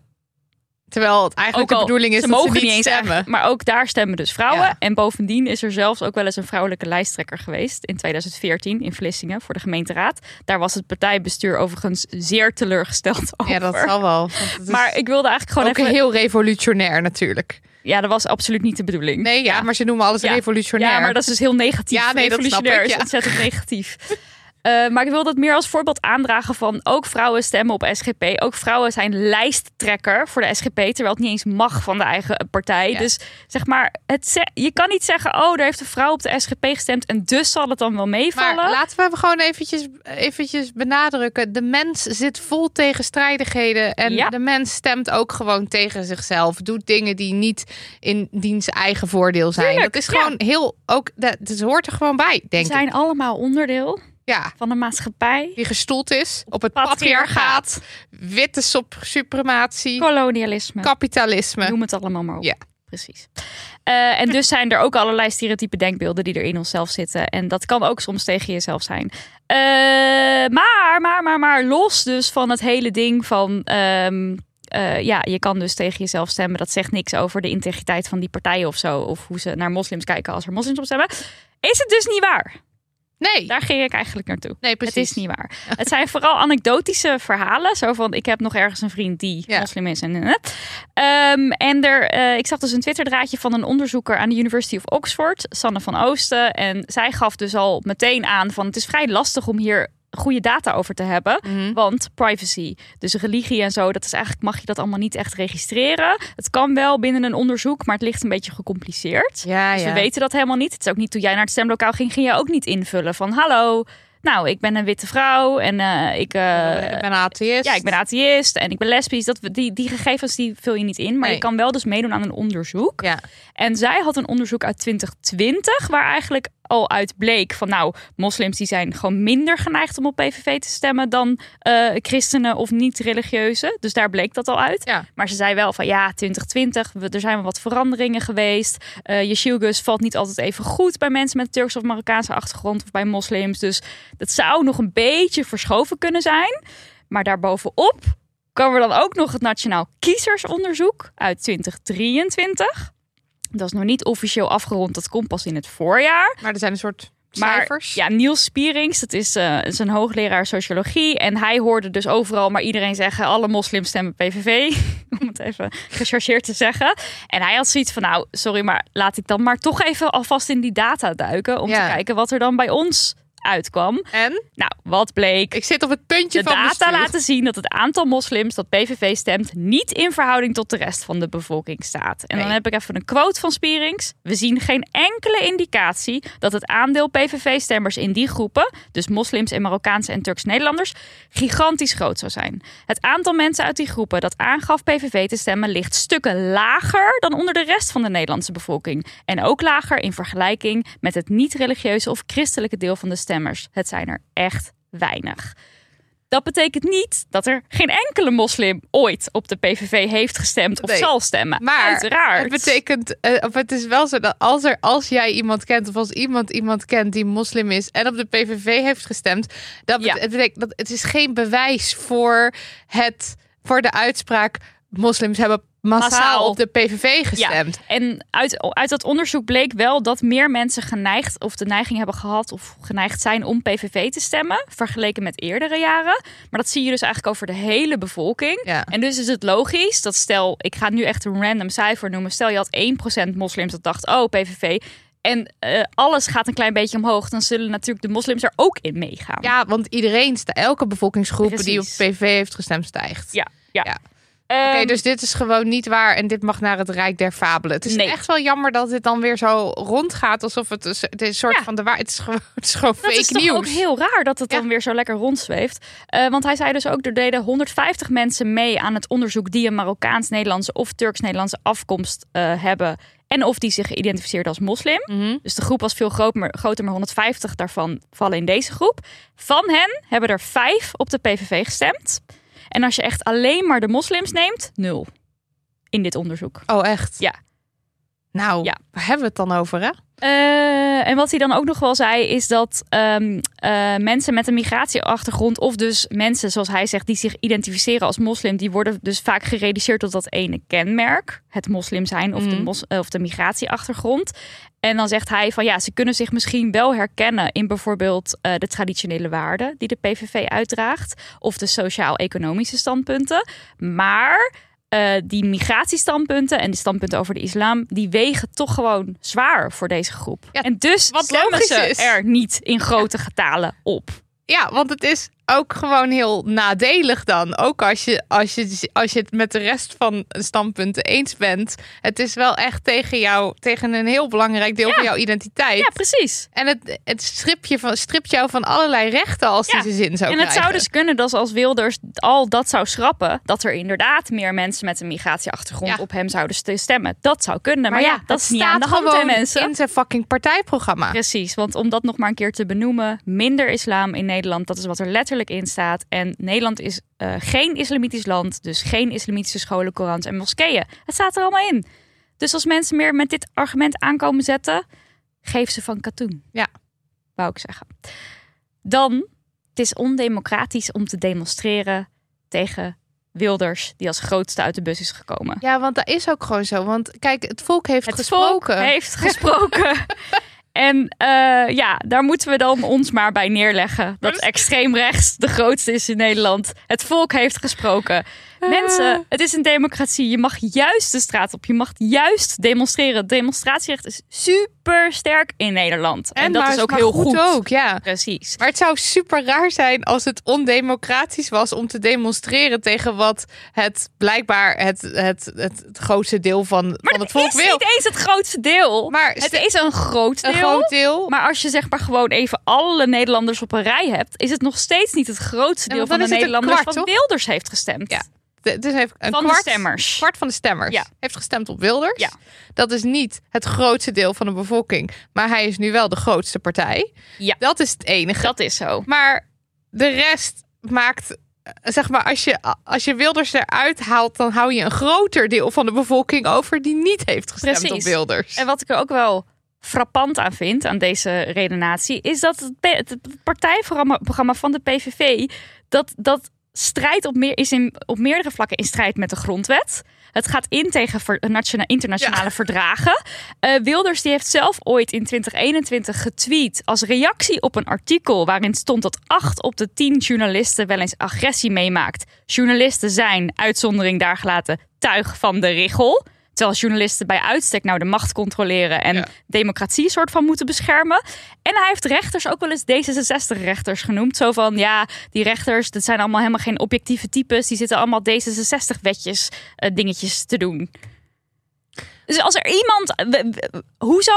Speaker 4: Terwijl het eigenlijk de
Speaker 5: al-
Speaker 4: bedoeling is
Speaker 5: ze
Speaker 4: dat
Speaker 5: mogen
Speaker 4: ze niet,
Speaker 5: eens
Speaker 4: stemmen.
Speaker 5: eigenlijk, [LAUGHS] Maar ook daar stemmen dus vrouwen.
Speaker 4: Ja.
Speaker 5: En bovendien is er zelfs ook wel eens een vrouwelijke lijsttrekker geweest. In 2014 in Vlissingen voor de gemeenteraad. Daar was het partijbestuur overigens zeer teleurgesteld over.
Speaker 4: Ja, dat zal wel. want het is
Speaker 5: Maar ik wilde eigenlijk gewoon
Speaker 4: ook
Speaker 5: even...
Speaker 4: heel revolutionair natuurlijk.
Speaker 5: Ja, dat was absoluut niet de bedoeling.
Speaker 4: Nee, ja, maar ze noemen alles
Speaker 5: Ja.
Speaker 4: revolutionair.
Speaker 5: Ja, maar dat is dus heel negatief.
Speaker 4: Ja, nee, dat snap
Speaker 5: Revolutionair
Speaker 4: ik,
Speaker 5: is
Speaker 4: ja.
Speaker 5: ontzettend negatief. [LAUGHS] Eh, maar ik wil dat meer als voorbeeld aandragen van ook vrouwen stemmen op SGP. Ook vrouwen zijn lijsttrekker voor de SGP, terwijl het niet eens mag van de eigen partij.
Speaker 4: Ja.
Speaker 5: Dus zeg maar, het ze- je kan niet zeggen, oh, daar heeft een vrouw op de SGP gestemd en dus zal het dan wel
Speaker 4: Maar
Speaker 5: meevallen.
Speaker 4: laten we gewoon eventjes, eventjes benadrukken. De mens zit vol tegenstrijdigheden. En
Speaker 5: Ja.
Speaker 4: de mens stemt ook gewoon tegen zichzelf. Doet dingen die niet in diens eigen voordeel zijn.
Speaker 5: Tuurlijk,
Speaker 4: dat is
Speaker 5: ja.
Speaker 4: gewoon heel... Ook, dat, dat hoort er gewoon bij, denk
Speaker 5: We zijn
Speaker 4: ik.
Speaker 5: allemaal onderdeel
Speaker 4: Ja.
Speaker 5: van de maatschappij.
Speaker 4: Die gestoeld is op het patriarchaat. Witte sop- suprematie.
Speaker 5: kolonialisme.
Speaker 4: Kapitalisme.
Speaker 5: Noem het allemaal maar op.
Speaker 4: Ja.
Speaker 5: Precies. Eh, en dus zijn er ook allerlei stereotype denkbeelden die er in onszelf zitten. En dat kan ook soms tegen jezelf zijn. Eh, maar, maar, maar, maar, los dus van het hele ding van... ehm, eh, ja, je kan dus tegen jezelf stemmen. Dat zegt niks over de integriteit van die partijen of zo. Of hoe ze naar moslims kijken als er moslims op stemmen. Is het dus niet waar?
Speaker 4: Nee.
Speaker 5: Daar ging ik eigenlijk naartoe.
Speaker 4: Nee, precies.
Speaker 5: Het is niet waar. Het zijn vooral anekdotische verhalen. Zo van, ik heb nog ergens een vriend die
Speaker 4: Ja.
Speaker 5: moslim is. En, eh. Ehm, en er, eh, ik zag dus een Twitterdraadje van een onderzoeker aan de University of Oxford. Sanne van Oosten. En zij gaf dus al meteen aan van, het is vrij lastig om hier goede data over te hebben.
Speaker 4: Mhm.
Speaker 5: Want privacy, dus religie en zo, dat is eigenlijk, mag je dat allemaal niet echt registreren. Het kan wel binnen een onderzoek, maar het ligt een beetje gecompliceerd.
Speaker 4: Ja,
Speaker 5: Dus
Speaker 4: Ah, ja.
Speaker 5: we weten dat helemaal niet. Het is ook niet toen jij naar het stemlokaal ging, ging jij ook niet invullen van hallo, nou ik ben een witte vrouw en eh, ik, eh,
Speaker 4: ik ben atheïst.
Speaker 5: ja, ik ben atheïst en ik ben lesbisch. Dat, we- die, die gegevens die vul je niet in, maar
Speaker 4: Nee.
Speaker 5: je kan wel dus meedoen aan een onderzoek.
Speaker 4: Ja.
Speaker 5: En zij had een onderzoek uit 2020, waar eigenlijk al uit bleek van nou, moslims die zijn gewoon minder geneigd om op PVV te stemmen dan eh, christenen of niet-religieuzen. Dus daar bleek dat al uit.
Speaker 4: Ja.
Speaker 5: Maar ze zei wel van ja, 2020, we, er zijn wel wat veranderingen geweest. Eh Yeshilgus valt niet altijd even goed bij mensen met Turks of Marokkaanse achtergrond of bij moslims. Dus dat zou nog een beetje verschoven kunnen zijn. Maar daarbovenop komen we dan ook nog het Nationaal Kiezersonderzoek uit 2023. Dat is nog niet officieel afgerond, dat komt pas in het voorjaar.
Speaker 4: Maar er zijn een soort
Speaker 5: Maar
Speaker 4: cijfers.
Speaker 5: ja, Niels Spierings, dat is, eh, is een hoogleraar sociologie. En hij hoorde dus overal maar iedereen zeggen... alle moslims stemmen PVV, [LAUGHS] om het even gechargeerd te zeggen. En hij had zoiets van, nou, sorry, maar laat ik dan maar toch even alvast in die data duiken... om
Speaker 4: Ja.
Speaker 5: te kijken wat er dan bij ons uitkwam.
Speaker 4: En
Speaker 5: Nou, wat bleek?
Speaker 4: ik zit op het puntje
Speaker 5: de
Speaker 4: van
Speaker 5: data
Speaker 4: bestuur.
Speaker 5: laten zien dat het aantal moslims dat PVV stemt niet in verhouding tot de rest van de bevolking staat. En
Speaker 4: Nee.
Speaker 5: dan heb ik even een quote van Spierings. We zien geen enkele indicatie dat het aandeel PVV-stemmers in die groepen, dus moslims en Marokkaanse en Turks-Nederlanders, gigantisch groot zou zijn. Het aantal mensen uit die groepen dat aangaf PVV te stemmen ligt stukken lager dan onder de rest van de Nederlandse bevolking. En ook lager in vergelijking met het niet-religieuze of christelijke deel van de stemmers. Het zijn er echt weinig. Dat betekent niet dat er geen enkele moslim ooit op de PVV heeft gestemd of
Speaker 4: Nee.
Speaker 5: zal stemmen.
Speaker 4: Maar
Speaker 5: Uiteraard.
Speaker 4: Het betekent, eh, of het is wel zo dat als, er, als jij iemand kent of als iemand iemand kent die moslim is en op de PVV heeft gestemd, dat bet-
Speaker 5: Ja.
Speaker 4: het betekent dat het is geen bewijs voor, het, voor de uitspraak moslims hebben massaal,
Speaker 5: Massaal.
Speaker 4: op de PVV gestemd.
Speaker 5: Ja, en uit, uit dat onderzoek bleek wel dat meer mensen geneigd of de neiging hebben gehad of geneigd zijn om PVV te stemmen, vergeleken met eerdere jaren. Maar dat zie je dus eigenlijk over de hele bevolking.
Speaker 4: Ja.
Speaker 5: En dus is het logisch dat stel, ik ga nu echt een random cijfer noemen, stel je had 1% moslims dat dacht, oh PVV. En eh, alles gaat een klein beetje omhoog, dan zullen natuurlijk de moslims er ook in meegaan.
Speaker 4: Ja, want iedereen, sta- elke bevolkingsgroep die op
Speaker 5: Precies.
Speaker 4: PVV heeft gestemd, stijgt.
Speaker 5: ja. ja.
Speaker 4: Ja.
Speaker 5: Ehm,
Speaker 4: Oké, dus dit is gewoon niet waar en dit mag naar het Rijk der Fabelen. Het is
Speaker 5: Nee.
Speaker 4: echt wel jammer dat dit dan weer zo rondgaat alsof het een, s- het is een soort
Speaker 5: Ja.
Speaker 4: van de waar. Het is gewoon, het is gewoon
Speaker 5: Dat
Speaker 4: fake
Speaker 5: is toch
Speaker 4: nieuws.
Speaker 5: ook heel raar dat het
Speaker 4: Ja.
Speaker 5: dan weer zo lekker rondzweeft. Eh, want hij zei dus ook, er deden 150 mensen mee aan het onderzoek... die een Marokkaans-Nederlandse of Turks-Nederlandse afkomst eh, hebben... en of die zich identificeerden als moslim.
Speaker 4: Mhm.
Speaker 5: Dus de groep was veel groot, maar, groter, maar 150 daarvan vallen in deze groep. Van hen hebben er vijf op de PVV gestemd. En als je echt alleen maar de moslims neemt, nul. In dit onderzoek.
Speaker 4: Oh, echt?
Speaker 5: Ja.
Speaker 4: Nou,
Speaker 5: Ja.
Speaker 4: waar hebben we het dan over, hè?
Speaker 5: Eh, en wat hij dan ook nog wel zei, is dat ehm, eh, mensen met een migratieachtergrond, of dus mensen zoals hij zegt, die zich identificeren als moslim, die worden dus vaak gereduceerd tot dat ene kenmerk: het moslim zijn of, de,
Speaker 4: Mhm.
Speaker 5: mos- eh, of de migratieachtergrond. En dan zegt hij van ja, ze kunnen zich misschien wel herkennen in bijvoorbeeld eh, de traditionele waarden die de PVV uitdraagt, of de sociaal-economische standpunten. Maar eh, die migratiestandpunten en die standpunten over de islam, die wegen toch gewoon zwaar voor deze groep.
Speaker 4: Ja,
Speaker 5: en dus
Speaker 4: wat
Speaker 5: stemmen
Speaker 4: logisch
Speaker 5: ze
Speaker 4: is.
Speaker 5: er niet in grote getalen op.
Speaker 4: Ja, want het is ook gewoon heel nadelig dan. Ook als je, als je, als je het met de rest van standpunten eens bent. Het is wel echt tegen jou, tegen een heel belangrijk deel van jouw identiteit.
Speaker 5: Ja, precies.
Speaker 4: En het, het stript, je van, stript jou van allerlei rechten als
Speaker 5: Ja.
Speaker 4: die ze zin zou
Speaker 5: en het
Speaker 4: krijgen.
Speaker 5: zou dus kunnen dat als Wilders al dat zou schrappen, dat er inderdaad meer mensen met een migratieachtergrond
Speaker 4: Ja.
Speaker 5: op hem zouden st- stemmen. Dat zou kunnen. Maar, ja, dat is niet aan de hand, hè,
Speaker 4: gewoon
Speaker 5: mensen.
Speaker 4: in zijn fucking partijprogramma.
Speaker 5: Precies, want om dat nog maar een keer te benoemen, minder islam in Nederland, dat is wat er letterlijk in staat. En Nederland is eh, geen islamitisch land, dus geen islamitische scholen, Korans en moskeeën. Het staat er allemaal in. Dus als mensen meer met dit argument aankomen zetten, geef ze van katoen.
Speaker 4: Ja.
Speaker 5: Wou ik zeggen. Dan, het is ondemocratisch om te demonstreren tegen Wilders, die als grootste uit de bus is gekomen.
Speaker 4: Ja, want dat is ook gewoon zo. Want kijk, het volk heeft
Speaker 5: Het
Speaker 4: gesproken.
Speaker 5: volk heeft gesproken. [LAUGHS] En eh, ja, daar moeten we dan ons maar bij neerleggen. Dat extreem rechts de grootste is in Nederland. Het volk heeft gesproken.
Speaker 4: Eh.
Speaker 5: Mensen, het is een democratie. Je mag juist de straat op. Je mag juist demonstreren. Het demonstratierecht is super super sterk in Nederland. En, dat
Speaker 4: maar-
Speaker 5: is ook
Speaker 4: maar
Speaker 5: heel goed.
Speaker 4: ook, ja.
Speaker 5: Precies.
Speaker 4: Maar het zou super raar zijn als het ondemocratisch was om te demonstreren tegen wat het blijkbaar het, het, het, het grootste deel van,
Speaker 5: Maar
Speaker 4: van
Speaker 5: dat
Speaker 4: het volk
Speaker 5: is
Speaker 4: wil.
Speaker 5: niet eens het grootste deel.
Speaker 4: Maar
Speaker 5: het
Speaker 4: ste-
Speaker 5: is een groot deel.
Speaker 4: een groot deel.
Speaker 5: Maar als je zeg maar gewoon even alle Nederlanders op een rij hebt, is het nog steeds niet het grootste
Speaker 4: Ja,
Speaker 5: deel
Speaker 4: want
Speaker 5: van
Speaker 4: dan
Speaker 5: de
Speaker 4: is het een
Speaker 5: Nederlanders
Speaker 4: kwart,
Speaker 5: wat
Speaker 4: toch?
Speaker 5: Wilders heeft gestemd.
Speaker 4: Ja. De- dus heeft een
Speaker 5: van
Speaker 4: kwart,
Speaker 5: de stemmers.
Speaker 4: kwart van de stemmers
Speaker 5: Ja.
Speaker 4: heeft gestemd op Wilders.
Speaker 5: Ja.
Speaker 4: Dat is niet het grootste deel van de bevolking. Maar hij is nu wel de grootste partij.
Speaker 5: Ja.
Speaker 4: Dat is het enige.
Speaker 5: Dat is zo.
Speaker 4: Maar de rest maakt. eh, Zeg maar, als je, als je Wilders eruit haalt, dan hou je een groter deel van de bevolking over die niet heeft gestemd op
Speaker 5: Precies.
Speaker 4: Wilders.
Speaker 5: En wat ik er ook wel frappant aan vind, aan deze redenatie, is dat het, P- het partijprogramma programma van de PVV, dat, dat strijd op meer, is in, op meerdere vlakken in strijd met de grondwet. Het gaat in tegen ver- nationa- internationale
Speaker 4: Ja.
Speaker 5: verdragen. Eh, Wilders die heeft zelf ooit in 2021 getweet als reactie op een artikel waarin stond dat acht op de tien journalisten wel eens agressie meemaakt. Journalisten zijn, uitzondering daar gelaten, tuig van de richel. Terwijl journalisten bij uitstek nou de macht controleren en
Speaker 4: Ja.
Speaker 5: democratie soort van moeten beschermen. En hij heeft rechters ook wel eens D66-rechters genoemd. Zo van, ja, die rechters, dat zijn allemaal helemaal geen objectieve types. Die zitten allemaal D66-wetjes eh, dingetjes te doen. Dus als er iemand... we- we- Hoezo,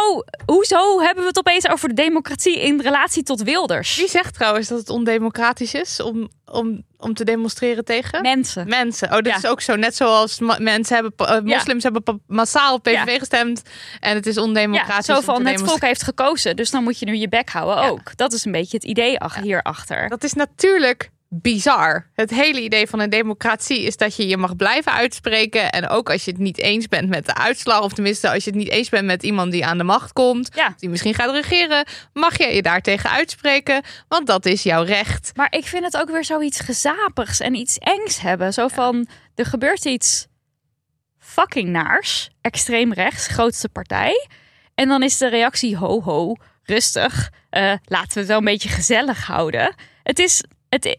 Speaker 5: hoezo hebben we het opeens over de democratie in relatie tot Wilders?
Speaker 4: Wie zegt trouwens dat het ondemocratisch is om, om, om te demonstreren tegen?
Speaker 5: Mensen.
Speaker 4: Mensen. Oh, dat
Speaker 5: Ja.
Speaker 4: is ook zo. Net zoals ma- mensen hebben, pa- eh,
Speaker 5: Ja.
Speaker 4: moslims hebben pa- massaal PVV
Speaker 5: Ja.
Speaker 4: gestemd. En het is ondemocratisch.
Speaker 5: Ja, zo
Speaker 4: om te
Speaker 5: van, het
Speaker 4: demonstreren.
Speaker 5: volk heeft gekozen, dus dan moet je nu je bek houden
Speaker 4: Ja.
Speaker 5: ook. Dat is een beetje het idee ach- hierachter.
Speaker 4: Dat is natuurlijk bizar. Het hele idee van een democratie is dat je je mag blijven uitspreken. En ook als je het niet eens bent met de uitslag, of tenminste als je het niet eens bent met iemand die aan de macht komt,
Speaker 5: Ja.
Speaker 4: die misschien gaat regeren, mag je je daartegen uitspreken, want dat is jouw recht.
Speaker 5: Maar ik vind het ook weer zoiets gezapigs en iets engs hebben. Zo van, er gebeurt iets fucking naars. Extreem rechts, grootste partij. En dan is de reactie, ho ho, rustig. eh, laten we het wel een beetje gezellig houden. Het is, het, i-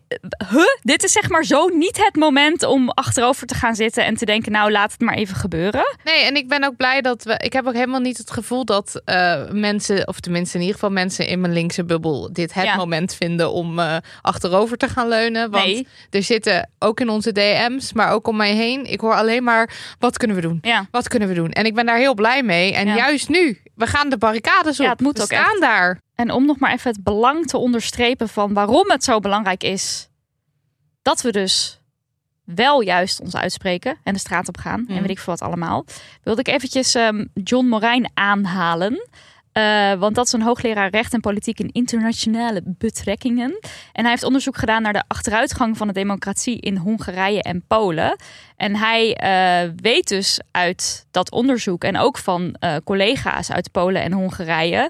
Speaker 5: huh? dit is zeg maar zo niet het moment om achterover te gaan zitten... en te denken, nou laat het maar even gebeuren.
Speaker 4: Nee, en ik ben ook blij dat we. Ik heb ook helemaal niet het gevoel dat eh, mensen, of tenminste in ieder geval mensen in mijn linkse bubbel, dit het
Speaker 5: Ja.
Speaker 4: moment vinden om eh, achterover te gaan leunen. Want
Speaker 5: Nee.
Speaker 4: er zitten ook in onze DM's, maar ook om mij heen. Ik hoor alleen maar: wat kunnen we doen?
Speaker 5: Ja.
Speaker 4: Wat kunnen we doen? En ik ben daar heel blij mee. En
Speaker 5: Ja.
Speaker 4: juist nu, we gaan de barricades op.
Speaker 5: Ja, het moet
Speaker 4: we
Speaker 5: ook
Speaker 4: staan daar.
Speaker 5: En om nog maar even het belang te onderstrepen van waarom het zo belangrijk is dat we dus wel juist ons uitspreken en de straat op gaan en weet ik veel wat allemaal, wilde ik eventjes ehm, John Morijn aanhalen. Eh, want dat is een hoogleraar recht en politiek in internationale betrekkingen. En hij heeft onderzoek gedaan naar de achteruitgang van de democratie in Hongarije en Polen. En hij eh, weet dus uit dat onderzoek en ook van eh, collega's uit Polen en Hongarije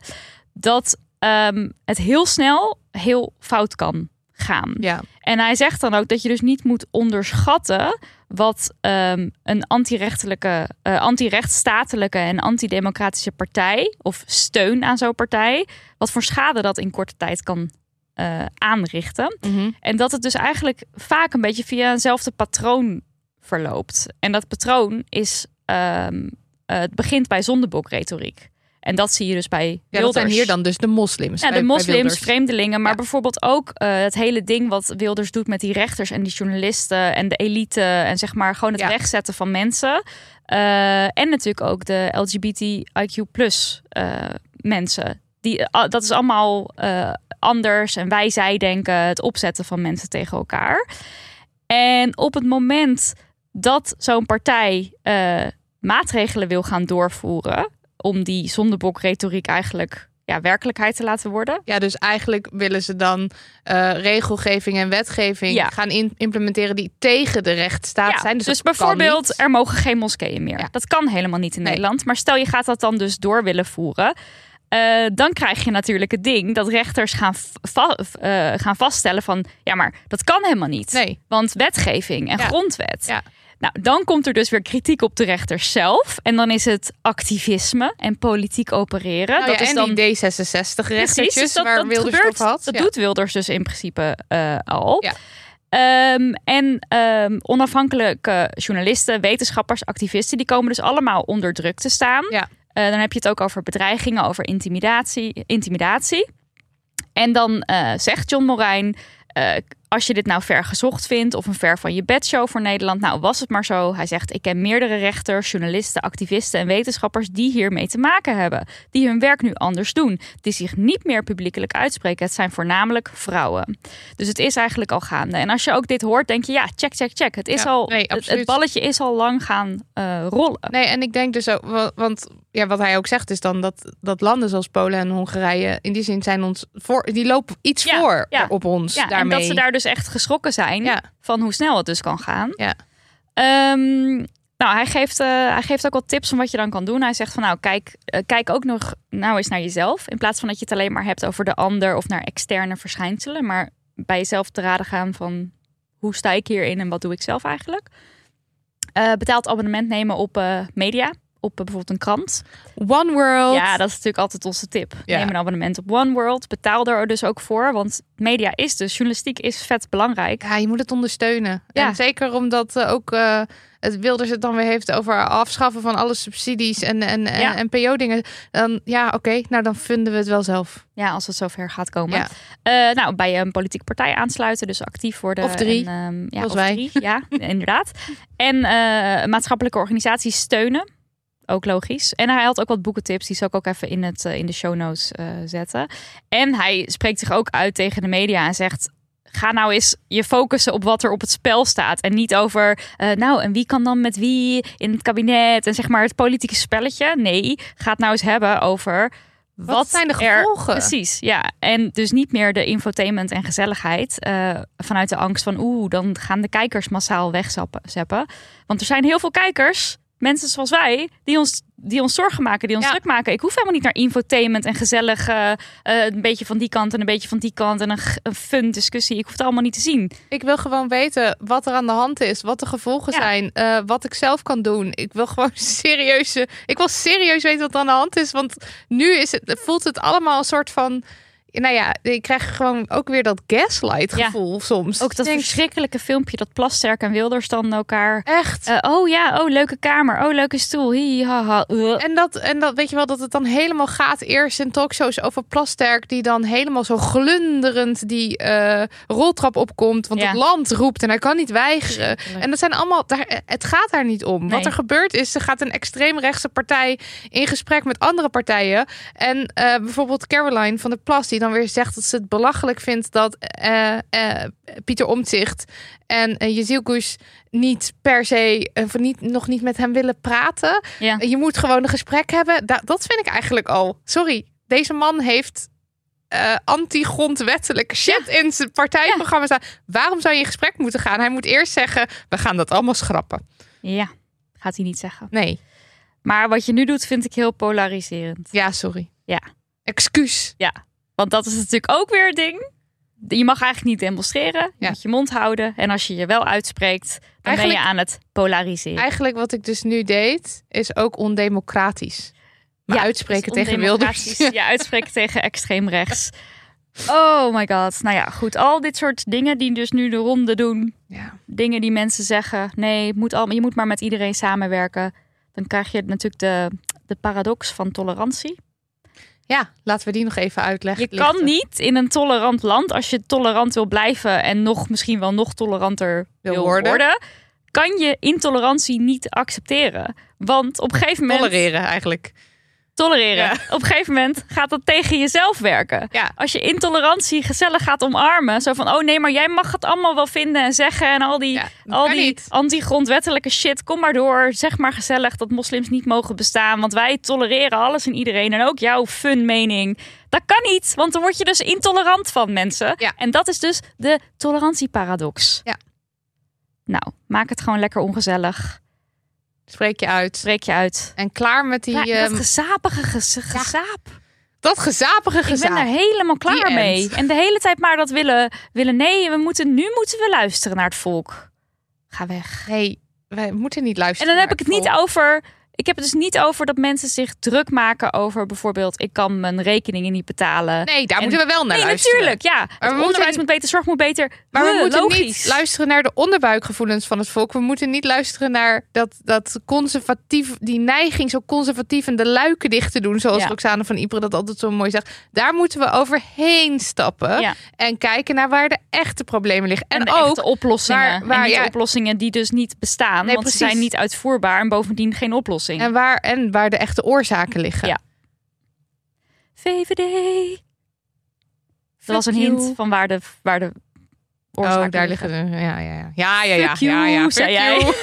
Speaker 5: dat ehm, het heel snel heel fout kan gaan.
Speaker 4: Ja.
Speaker 5: En hij zegt dan ook dat je dus niet moet onderschatten wat ehm, een antirechtelijke, eh antirechtsstatelijke en antidemocratische partij of steun aan zo'n partij, wat voor schade dat in korte tijd kan eh, aanrichten. En dat het dus eigenlijk vaak een beetje via eenzelfde patroon verloopt. En dat patroon is, ehm, eh, het begint bij zondebokretoriek. En dat zie je dus bij
Speaker 4: Ja, dat
Speaker 5: Wilders.
Speaker 4: zijn hier dan dus de moslims.
Speaker 5: Ja,
Speaker 4: bij-
Speaker 5: de
Speaker 4: bij
Speaker 5: moslims,
Speaker 4: Wilders.
Speaker 5: vreemdelingen, maar
Speaker 4: Ja.
Speaker 5: bijvoorbeeld ook eh, het hele ding wat Wilders doet met die rechters en die journalisten en de elite en zeg maar gewoon het
Speaker 4: Ja.
Speaker 5: wegzetten van mensen. Eh, en natuurlijk ook de LGBTIQ plus eh, mensen. Die, eh, ah, dat is allemaal eh, anders en wij zij denken, het opzetten van mensen tegen elkaar. En op het moment dat zo'n partij eh, maatregelen wil gaan doorvoeren om die zondebokretoriek eigenlijk ja, werkelijkheid te laten worden.
Speaker 4: Ja, dus eigenlijk willen ze dan eh, regelgeving en wetgeving
Speaker 5: Ja.
Speaker 4: gaan in- implementeren die tegen de rechtsstaat
Speaker 5: Ja,
Speaker 4: zijn. Dus,
Speaker 5: dus,
Speaker 4: dat kan
Speaker 5: bijvoorbeeld,
Speaker 4: niet.
Speaker 5: er mogen geen moskeeën meer.
Speaker 4: Ja.
Speaker 5: Dat kan helemaal niet in
Speaker 4: Nee.
Speaker 5: Nederland. Maar stel je gaat dat dan dus door willen voeren. eh, dan krijg je natuurlijk het ding dat rechters gaan, va- eh, gaan vaststellen van... ja, maar dat kan helemaal niet.
Speaker 4: Nee.
Speaker 5: Want wetgeving en
Speaker 4: Ja.
Speaker 5: grondwet.
Speaker 4: Ja.
Speaker 5: Nou, dan komt er dus weer kritiek op de rechters zelf. En dan is het activisme en politiek opereren.
Speaker 4: Nou ja,
Speaker 5: dat is
Speaker 4: en
Speaker 5: dan
Speaker 4: die D66-rechtertjes
Speaker 5: Precies, dus dat,
Speaker 4: waar
Speaker 5: dat
Speaker 4: Wilders het
Speaker 5: gebeurt,
Speaker 4: over had.
Speaker 5: Dat
Speaker 4: ja.
Speaker 5: doet Wilders dus in principe eh, al.
Speaker 4: Ja.
Speaker 5: Ehm, en ehm, onafhankelijke journalisten, wetenschappers, activisten, die komen dus allemaal onder druk te staan.
Speaker 4: Ja.
Speaker 5: Eh, Eh, dan heb je het ook over bedreigingen, over intimidatie. intimidatie. En dan eh, zegt John Morijn, eh, als je dit nou ver gezocht vindt of een ver van je bedshow voor Nederland, nou was het maar zo. Hij zegt, ik ken meerdere rechters, journalisten, activisten en wetenschappers die hiermee te maken hebben. Die hun werk nu anders doen. Die zich niet meer publiekelijk uitspreken. Het zijn voornamelijk vrouwen. Dus het is eigenlijk al gaande. En als je ook dit hoort, denk je, ja, check, check, check. Het, is
Speaker 4: Ja,
Speaker 5: al,
Speaker 4: nee,
Speaker 5: het- het,
Speaker 4: absoluut.
Speaker 5: balletje is al lang gaan eh, rollen.
Speaker 4: Nee, en ik denk dus ook, wa- want ja, wat hij ook zegt is dan dat, dat landen zoals Polen en Hongarije in die zin zijn ons voor, die lopen iets
Speaker 5: Ja,
Speaker 4: voor
Speaker 5: ja.
Speaker 4: op ons
Speaker 5: Ja,
Speaker 4: daarmee.
Speaker 5: en dat ze daar dus echt geschrokken zijn
Speaker 4: Ja.
Speaker 5: van hoe snel het dus kan gaan.
Speaker 4: Ja.
Speaker 5: Ehm, nou, hij geeft, eh, hij geeft ook wat tips van wat je dan kan doen. Hij zegt van nou, kijk, eh, kijk ook nog nou eens naar jezelf. In plaats van dat je het alleen maar hebt over de ander of naar externe verschijnselen. Maar bij jezelf te raden gaan van hoe sta ik hierin en wat doe ik zelf eigenlijk. Eh, betaald abonnement nemen op eh, media. Op eh, bijvoorbeeld een krant.
Speaker 4: One World.
Speaker 5: Ja, dat is natuurlijk altijd onze tip.
Speaker 4: Ja.
Speaker 5: Neem een abonnement op One World. Betaal er dus ook voor. Want media is dus, journalistiek is vet belangrijk.
Speaker 4: Ja, je moet het ondersteunen.
Speaker 5: Ja.
Speaker 4: En zeker omdat eh, ook eh, het Wilders het dan weer heeft over afschaffen van alle subsidies en, en,
Speaker 5: Ja.
Speaker 4: en, en PO-dingen. Dan ja, oké, nou dan vinden we het wel zelf.
Speaker 5: Ja, als het zover gaat komen.
Speaker 4: Ja.
Speaker 5: Eh, nou, bij een politieke partij aansluiten, dus actief worden.
Speaker 4: Of drie,
Speaker 5: en, ehm, ja,
Speaker 4: zoals
Speaker 5: of
Speaker 4: wij.
Speaker 5: drie,
Speaker 4: [LAUGHS]
Speaker 5: ja, inderdaad. En eh, maatschappelijke organisaties steunen. Ook logisch. En hij had ook wat boekentips. Die zal ik ook even in, het, eh, in de show notes eh, zetten. En hij spreekt zich ook uit tegen de media en zegt... Ga nou eens je focussen op wat er op het spel staat. En niet over, eh, nou, en wie kan dan met wie in het kabinet? En zeg maar het politieke spelletje. Nee, ga het nou eens hebben over... Wat,
Speaker 4: zijn de
Speaker 5: er
Speaker 4: gevolgen?
Speaker 5: Precies, ja. En dus niet meer de infotainment en gezelligheid eh, vanuit de angst van oeh, dan gaan de kijkers massaal wegzappen. Want er zijn heel veel kijkers, mensen zoals wij, die ons, die ons zorgen maken, die ons
Speaker 4: Ja.
Speaker 5: druk maken. Ik hoef helemaal niet naar infotainment en gezellig eh, eh, een beetje van die kant en een beetje van die kant en een, g- een fun discussie. Ik hoef het allemaal niet te zien.
Speaker 4: Ik wil gewoon weten wat er aan de hand is, wat de gevolgen
Speaker 5: Ja.
Speaker 4: zijn, eh, wat ik zelf kan doen. Ik wil gewoon [LAUGHS] serieuze. Ik wil serieus weten wat er aan de hand is, want nu is het, voelt het allemaal een soort van. Nou ja, ik krijg gewoon ook weer dat gaslight
Speaker 5: Ja.
Speaker 4: gevoel soms.
Speaker 5: Ook dat
Speaker 4: Ik denk,
Speaker 5: verschrikkelijke filmpje dat Plasterk en Wilders dan elkaar...
Speaker 4: echt.
Speaker 5: eh, oh ja, oh leuke kamer, oh leuke stoel, hi, ha, ha, uh.
Speaker 4: En dat, en dat weet je wel, dat het dan helemaal gaat eerst in talkshows over Plasterk, die dan helemaal zo glunderend die eh, roltrap opkomt, want
Speaker 5: Ja.
Speaker 4: het land roept en hij kan niet weigeren. En dat zijn allemaal, daar, eh, het gaat daar niet om.
Speaker 5: Nee.
Speaker 4: Wat er gebeurt is, er gaat een extreemrechtse partij in gesprek met andere partijen. En eh, bijvoorbeeld Caroline van der Plas, die dan weer zegt dat ze het belachelijk vindt dat eh, eh, Pieter Omtzigt en uh, niet per se, eh, voor niet, nog niet met hem willen praten.
Speaker 5: ja.
Speaker 4: Je moet gewoon een gesprek hebben. Da- dat vind ik eigenlijk al. Sorry, deze man heeft eh, anti-grondwettelijke shit in zijn partijprogramma staan. Waarom zou je in gesprek moeten gaan? Hij moet eerst zeggen: we gaan dat allemaal schrappen.
Speaker 5: ja, gaat hij niet zeggen.
Speaker 4: Nee,
Speaker 5: Maar wat je nu doet, vind ik heel polariserend.
Speaker 4: ja, sorry.
Speaker 5: Ja.
Speaker 4: Excuus.
Speaker 5: Want dat is natuurlijk ook weer het ding. Je mag eigenlijk niet demonstreren. Je
Speaker 4: Ja.
Speaker 5: moet je mond houden. En als je je wel uitspreekt, dan ben
Speaker 4: Eigenlijk-
Speaker 5: je aan het polariseren.
Speaker 4: Eigenlijk wat ik dus nu deed, is ook ondemocratisch. Maar
Speaker 5: Ja,
Speaker 4: uitspreken
Speaker 5: dus
Speaker 4: tegen Wilders.
Speaker 5: ondemocratisch. [LAUGHS] Ja,
Speaker 4: [LAUGHS]
Speaker 5: uitspreken tegen extreem rechts. Oh my god. Nou ja, goed. Al dit soort dingen die dus nu de ronde doen.
Speaker 4: Ja.
Speaker 5: Dingen die mensen zeggen. Nee, het moet allemaal, je moet maar met iedereen samenwerken. Dan krijg je natuurlijk de, de paradox van tolerantie.
Speaker 4: [LAUGHS] ja, laten we die nog even uitleggen.
Speaker 5: Je kan
Speaker 4: Lichten.
Speaker 5: niet in een tolerant land, als je tolerant wil blijven en nog misschien wel nog toleranter wil,
Speaker 4: Wil
Speaker 5: worden.
Speaker 4: worden.
Speaker 5: kan je intolerantie niet accepteren. Want op een gegeven moment.
Speaker 4: tolereren eigenlijk.
Speaker 5: tolereren.
Speaker 4: Ja.
Speaker 5: Op een gegeven moment gaat dat tegen jezelf werken.
Speaker 4: Ja.
Speaker 5: Als je intolerantie gezellig gaat omarmen, zo van: oh nee, maar jij mag het allemaal wel vinden en zeggen en al die.
Speaker 4: Ja, dat
Speaker 5: Al
Speaker 4: kan
Speaker 5: die
Speaker 4: niet.
Speaker 5: anti-grondwettelijke shit, kom maar door. Zeg maar gezellig dat moslims niet mogen bestaan. Want wij tolereren alles en iedereen. En ook jouw fun mening. Dat kan niet, want dan word je dus intolerant van mensen.
Speaker 4: Ja.
Speaker 5: En dat is dus de tolerantieparadox.
Speaker 4: Ja.
Speaker 5: Nou, maak het gewoon lekker ongezellig.
Speaker 4: Spreek je uit.
Speaker 5: Spreek je uit.
Speaker 4: En klaar met die.
Speaker 5: Ja, en
Speaker 4: ehm,
Speaker 5: dat gezapige gez- gezaap.
Speaker 4: dat gezapige
Speaker 5: Ik ben
Speaker 4: gezaap.
Speaker 5: daar helemaal klaar
Speaker 4: Die
Speaker 5: mee.
Speaker 4: end.
Speaker 5: En de hele tijd maar dat willen, willen. Nee, we moeten, nu moeten we luisteren naar het volk. Ga weg.
Speaker 4: Nee, wij moeten niet
Speaker 5: En
Speaker 4: luisteren.
Speaker 5: dan heb ik het niet
Speaker 4: naar
Speaker 5: over. Ik heb het dus niet over dat mensen zich druk maken over bijvoorbeeld... ik kan mijn rekeningen niet betalen.
Speaker 4: Nee, daar
Speaker 5: En-
Speaker 4: moeten we wel naar
Speaker 5: Nee,
Speaker 4: luisteren.
Speaker 5: natuurlijk, ja. Het
Speaker 4: we moeten
Speaker 5: onderwijs
Speaker 4: niet-
Speaker 5: moet beter, zorg moet beter.
Speaker 4: Maar we
Speaker 5: Huh,
Speaker 4: moeten
Speaker 5: logisch.
Speaker 4: niet luisteren naar de onderbuikgevoelens van het volk. We moeten niet luisteren naar dat, dat conservatief, die neiging zo conservatief en de luiken dicht te doen. Zoals
Speaker 5: Ja.
Speaker 4: Roxane van Ypres dat altijd zo mooi zegt. Daar moeten we overheen stappen.
Speaker 5: Ja.
Speaker 4: En kijken naar waar de echte problemen liggen. En,
Speaker 5: En, de
Speaker 4: ook,
Speaker 5: echte oplossingen.
Speaker 4: waar- waar-
Speaker 5: en niet
Speaker 4: ja.
Speaker 5: oplossingen die dus niet bestaan.
Speaker 4: Nee,
Speaker 5: want ze
Speaker 4: precies.
Speaker 5: zijn niet uitvoerbaar en bovendien geen oplossing.
Speaker 4: en, waar, en waar de echte oorzaken liggen.
Speaker 5: Ja. VVD. Dat was een
Speaker 4: Fuck
Speaker 5: hint
Speaker 4: you.
Speaker 5: van waar de, waar de oorzaken
Speaker 4: oh, daar liggen. de- Ja, ja, ja. Ja, ja, ja.
Speaker 5: Fuck
Speaker 4: ja,
Speaker 5: you,
Speaker 4: ja, fuck
Speaker 5: zei jij.
Speaker 4: you.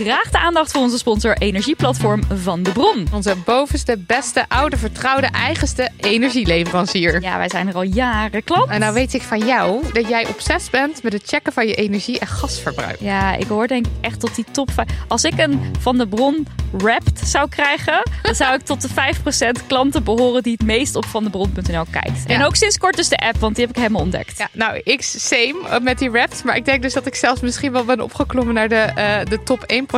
Speaker 5: Graag de aandacht voor onze sponsor Energieplatform Van de Bron.
Speaker 4: Onze bovenste, beste, oude, vertrouwde, eigenste energieleverancier.
Speaker 5: Ja, wij zijn er al jaren klant.
Speaker 4: En nou weet ik van jou dat jij obsessief bent met het checken van je energie- en gasverbruik.
Speaker 5: Ja, ik hoor denk ik echt tot die top 5. Als ik een Van de Bron wrapped zou krijgen, dan zou ik tot de 5% klanten behoren die het meest op vandebron.nl kijkt. En
Speaker 4: Ja.
Speaker 5: ook sinds kort dus de app, want die heb ik helemaal ontdekt.
Speaker 4: Ja, nou, ik same eh, met die raps. Maar ik denk dus dat ik zelfs misschien wel ben opgeklommen naar de, eh, de top 1%.